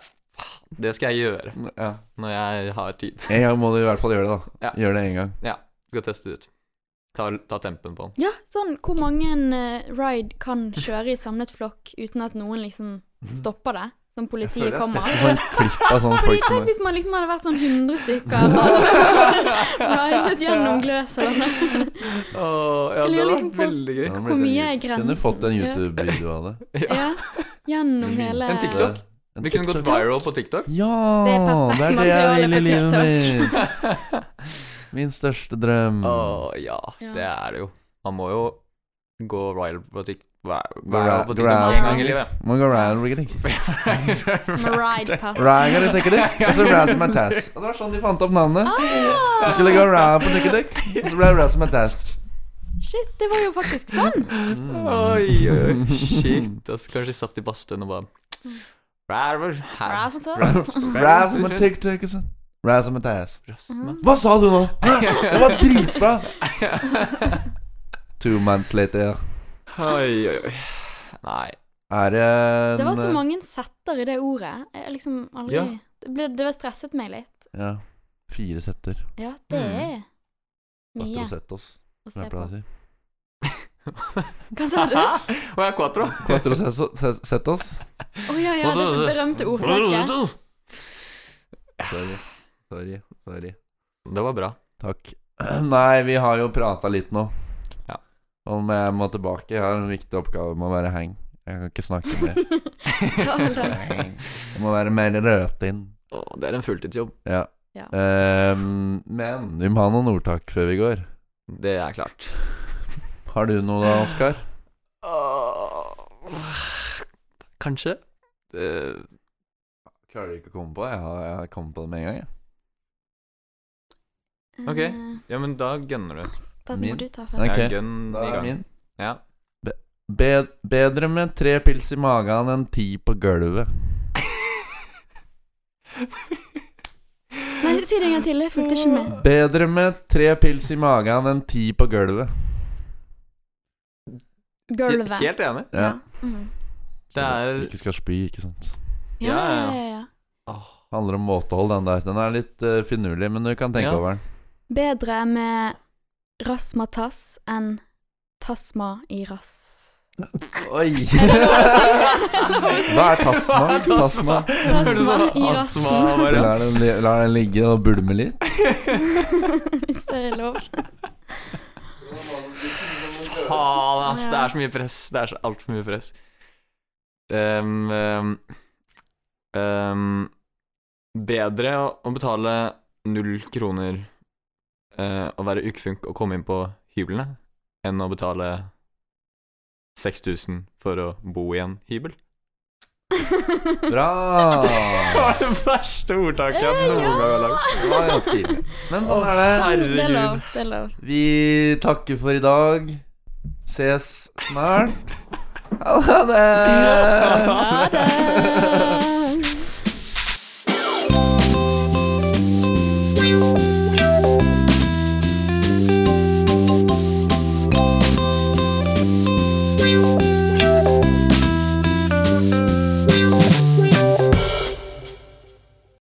S1: Det skal jeg gjøre
S2: Ja.
S1: når jeg har tid.
S2: En gang må du i hvert fall gjøre det,
S1: Ja.
S2: da. Gjør det en gang.
S1: Skal teste det ut. Ta, ta tempen på den.
S3: Ja, sånn hvor mange eh, ride kan kjøre i samlet flokk uten at noen liksom
S2: Mhm.
S3: stopper det? Som
S2: føler
S3: politiet
S2: jeg har
S3: kommer?
S2: sett en sånn klipp av sånne
S3: Fordi
S2: folk som
S3: Tenk hvis man liksom hadde vært sånn
S2: [LAUGHS]
S3: 100 stykker og ridet gjennom Gløshålen.
S1: Å, ja,
S3: Jeg
S1: det
S3: lurer
S1: hadde
S3: liksom
S1: vært
S3: på-
S1: veldig gøy.
S2: Ja, men
S3: Hvor mye er
S2: Kunne
S3: grensen?
S2: fått en YouTube-video av
S1: [LAUGHS]
S2: det.
S1: Ja.
S3: Ja,
S2: [LAUGHS]
S3: gjennom hele
S1: En TikTok.
S2: En
S1: Vi kunne gått
S2: TikTok.
S1: viral på [LAUGHS] TikTok.
S2: Ja!
S3: Det er perfekt
S2: det er det jeg
S3: materiale
S2: vil i
S3: for
S2: livet
S3: TikTok.
S2: mitt. Min største drøm.
S1: Å ja,
S3: Ja.
S1: det er det jo. Man må jo gå viral på TikTok. Viral
S2: Viral-
S1: på TikTok
S3: viral.
S1: en gang i livet.
S2: Må gå round, Rigging.
S1: [LAUGHS]
S3: Med ride pass.
S2: Rang er det tenker dere? Og så [LAUGHS] Razzmatazz. Og det var sånn de fant opp navnet.
S3: Ah!
S2: De skulle gå round på tenker dere, og så ble det Razzmatazz.
S3: Shit, det var jo faktisk sånn.
S1: Oi, oi, shit. Altså, kanskje de satt i badstuen og bare Rar, her.
S3: Razzmatazz.
S2: Razzmatazz. Razzmatazz.
S1: Rasmus.
S2: Hva sa du nå?
S1: [LAUGHS]
S2: Hæ? Det var dritbra! [LAUGHS] Two months later.
S1: Oi, oi, oi. Nei.
S2: Er det en
S3: Det var
S2: sånn, eh.
S3: så mange setter i det ordet. Jeg liksom aldri
S1: Ja.
S3: Det, ble, det stresset meg litt.
S2: eh, Ja. Fire setter.
S3: Ja, det
S2: Mm.
S3: er
S2: Etter
S3: mye
S2: å sette oss.
S3: å
S2: Hva
S3: se
S2: er det
S3: på.
S2: jeg sier?
S3: Hva [LAUGHS]
S1: [LAUGHS]
S3: sa du? Å
S1: Og jeg er
S3: [LAUGHS]
S1: quatro.
S2: Quattro se- se- sette oss.
S3: ja, ja, det er sånn berømte ordtaket.
S2: Sorry. Sorry. Sorry. [CLEARS THROAT]
S1: Det var
S3: [LAUGHS]
S1: bra.
S2: Takk. Nei, vi har jo prata litt nå.
S1: Ja.
S2: Om jeg må tilbake. Jeg har en viktig oppgave med å være hang. Jeg kan ikke snakke mer.
S3: Travel dag.
S2: jeg må være mer rødtinn.
S1: [LAUGHS] Å, det er en fulltidsjobb.
S2: Ja.
S3: Ja.
S2: Ehm, men vi må ha noen ordtak før vi går.
S1: Det er klart.
S2: Har du noe da, Oskar?
S1: Åh, Kanskje. Eh,
S2: Klarer du ikke å komme på? Jeg har, jeg har kommet på det med en gang. Jeg.
S1: Ok.
S3: Eh,
S1: Ja, men da gønner du.
S3: Da må
S2: Min.
S3: du ta
S2: Nei.
S3: først.
S2: Ok,
S1: Jeg gønn
S2: Da
S1: i
S2: er
S1: gang. [LAUGHS]
S2: min.
S1: Ja.
S2: Bed bedre med tre pils i magen enn ti på gulvet.
S3: Nei, si det en gang til. Jeg fulgte ikke med.
S2: Bedre med tre pils i magen enn ti på gulvet.
S3: Gulvet.
S1: Helt enig.
S2: Ja.
S3: Mm.
S1: Det er-
S2: Ikke skal spy, ikke sant.
S3: Ja,
S1: Ja, ja,
S3: ja,
S1: ja.
S3: ja, ja.
S2: Handler om måtehold, den der. Den er litt eh, finurlig, men du kan tenke
S1: Ja.
S2: over den.
S3: Bedre med rasmatass enn tasma i rass.
S2: Oi! Hva er tasma? Tasma.
S1: Hørte du sånn
S3: i
S1: astma
S3: rassen.
S1: bare [LAUGHS]
S2: [LAUGHS] La den, li- la den ligge og bulme litt.
S3: [LAUGHS] Hvis det er lov.
S1: Faen, ass. Det er så mye press. Det er så altfor mye press. Ehm, ehm, ehm, bedre å, å betale null kroner eh, og være ukefunk og komme inn på hyblene, enn å betale 6000 for å bo i en
S2: [LAUGHS]
S1: hybel.
S2: Bra!
S1: Det var det verste ordtaket
S3: [LAUGHS]
S1: jeg noen gang har lagd.
S2: Det var ganske ille. Men sånn er det.
S3: Det er lov.
S1: Herregud.
S3: Det er lov.
S2: Vi takker for i dag. Ses snart. Ha det!
S3: Ha det!
S1: [LAUGHS]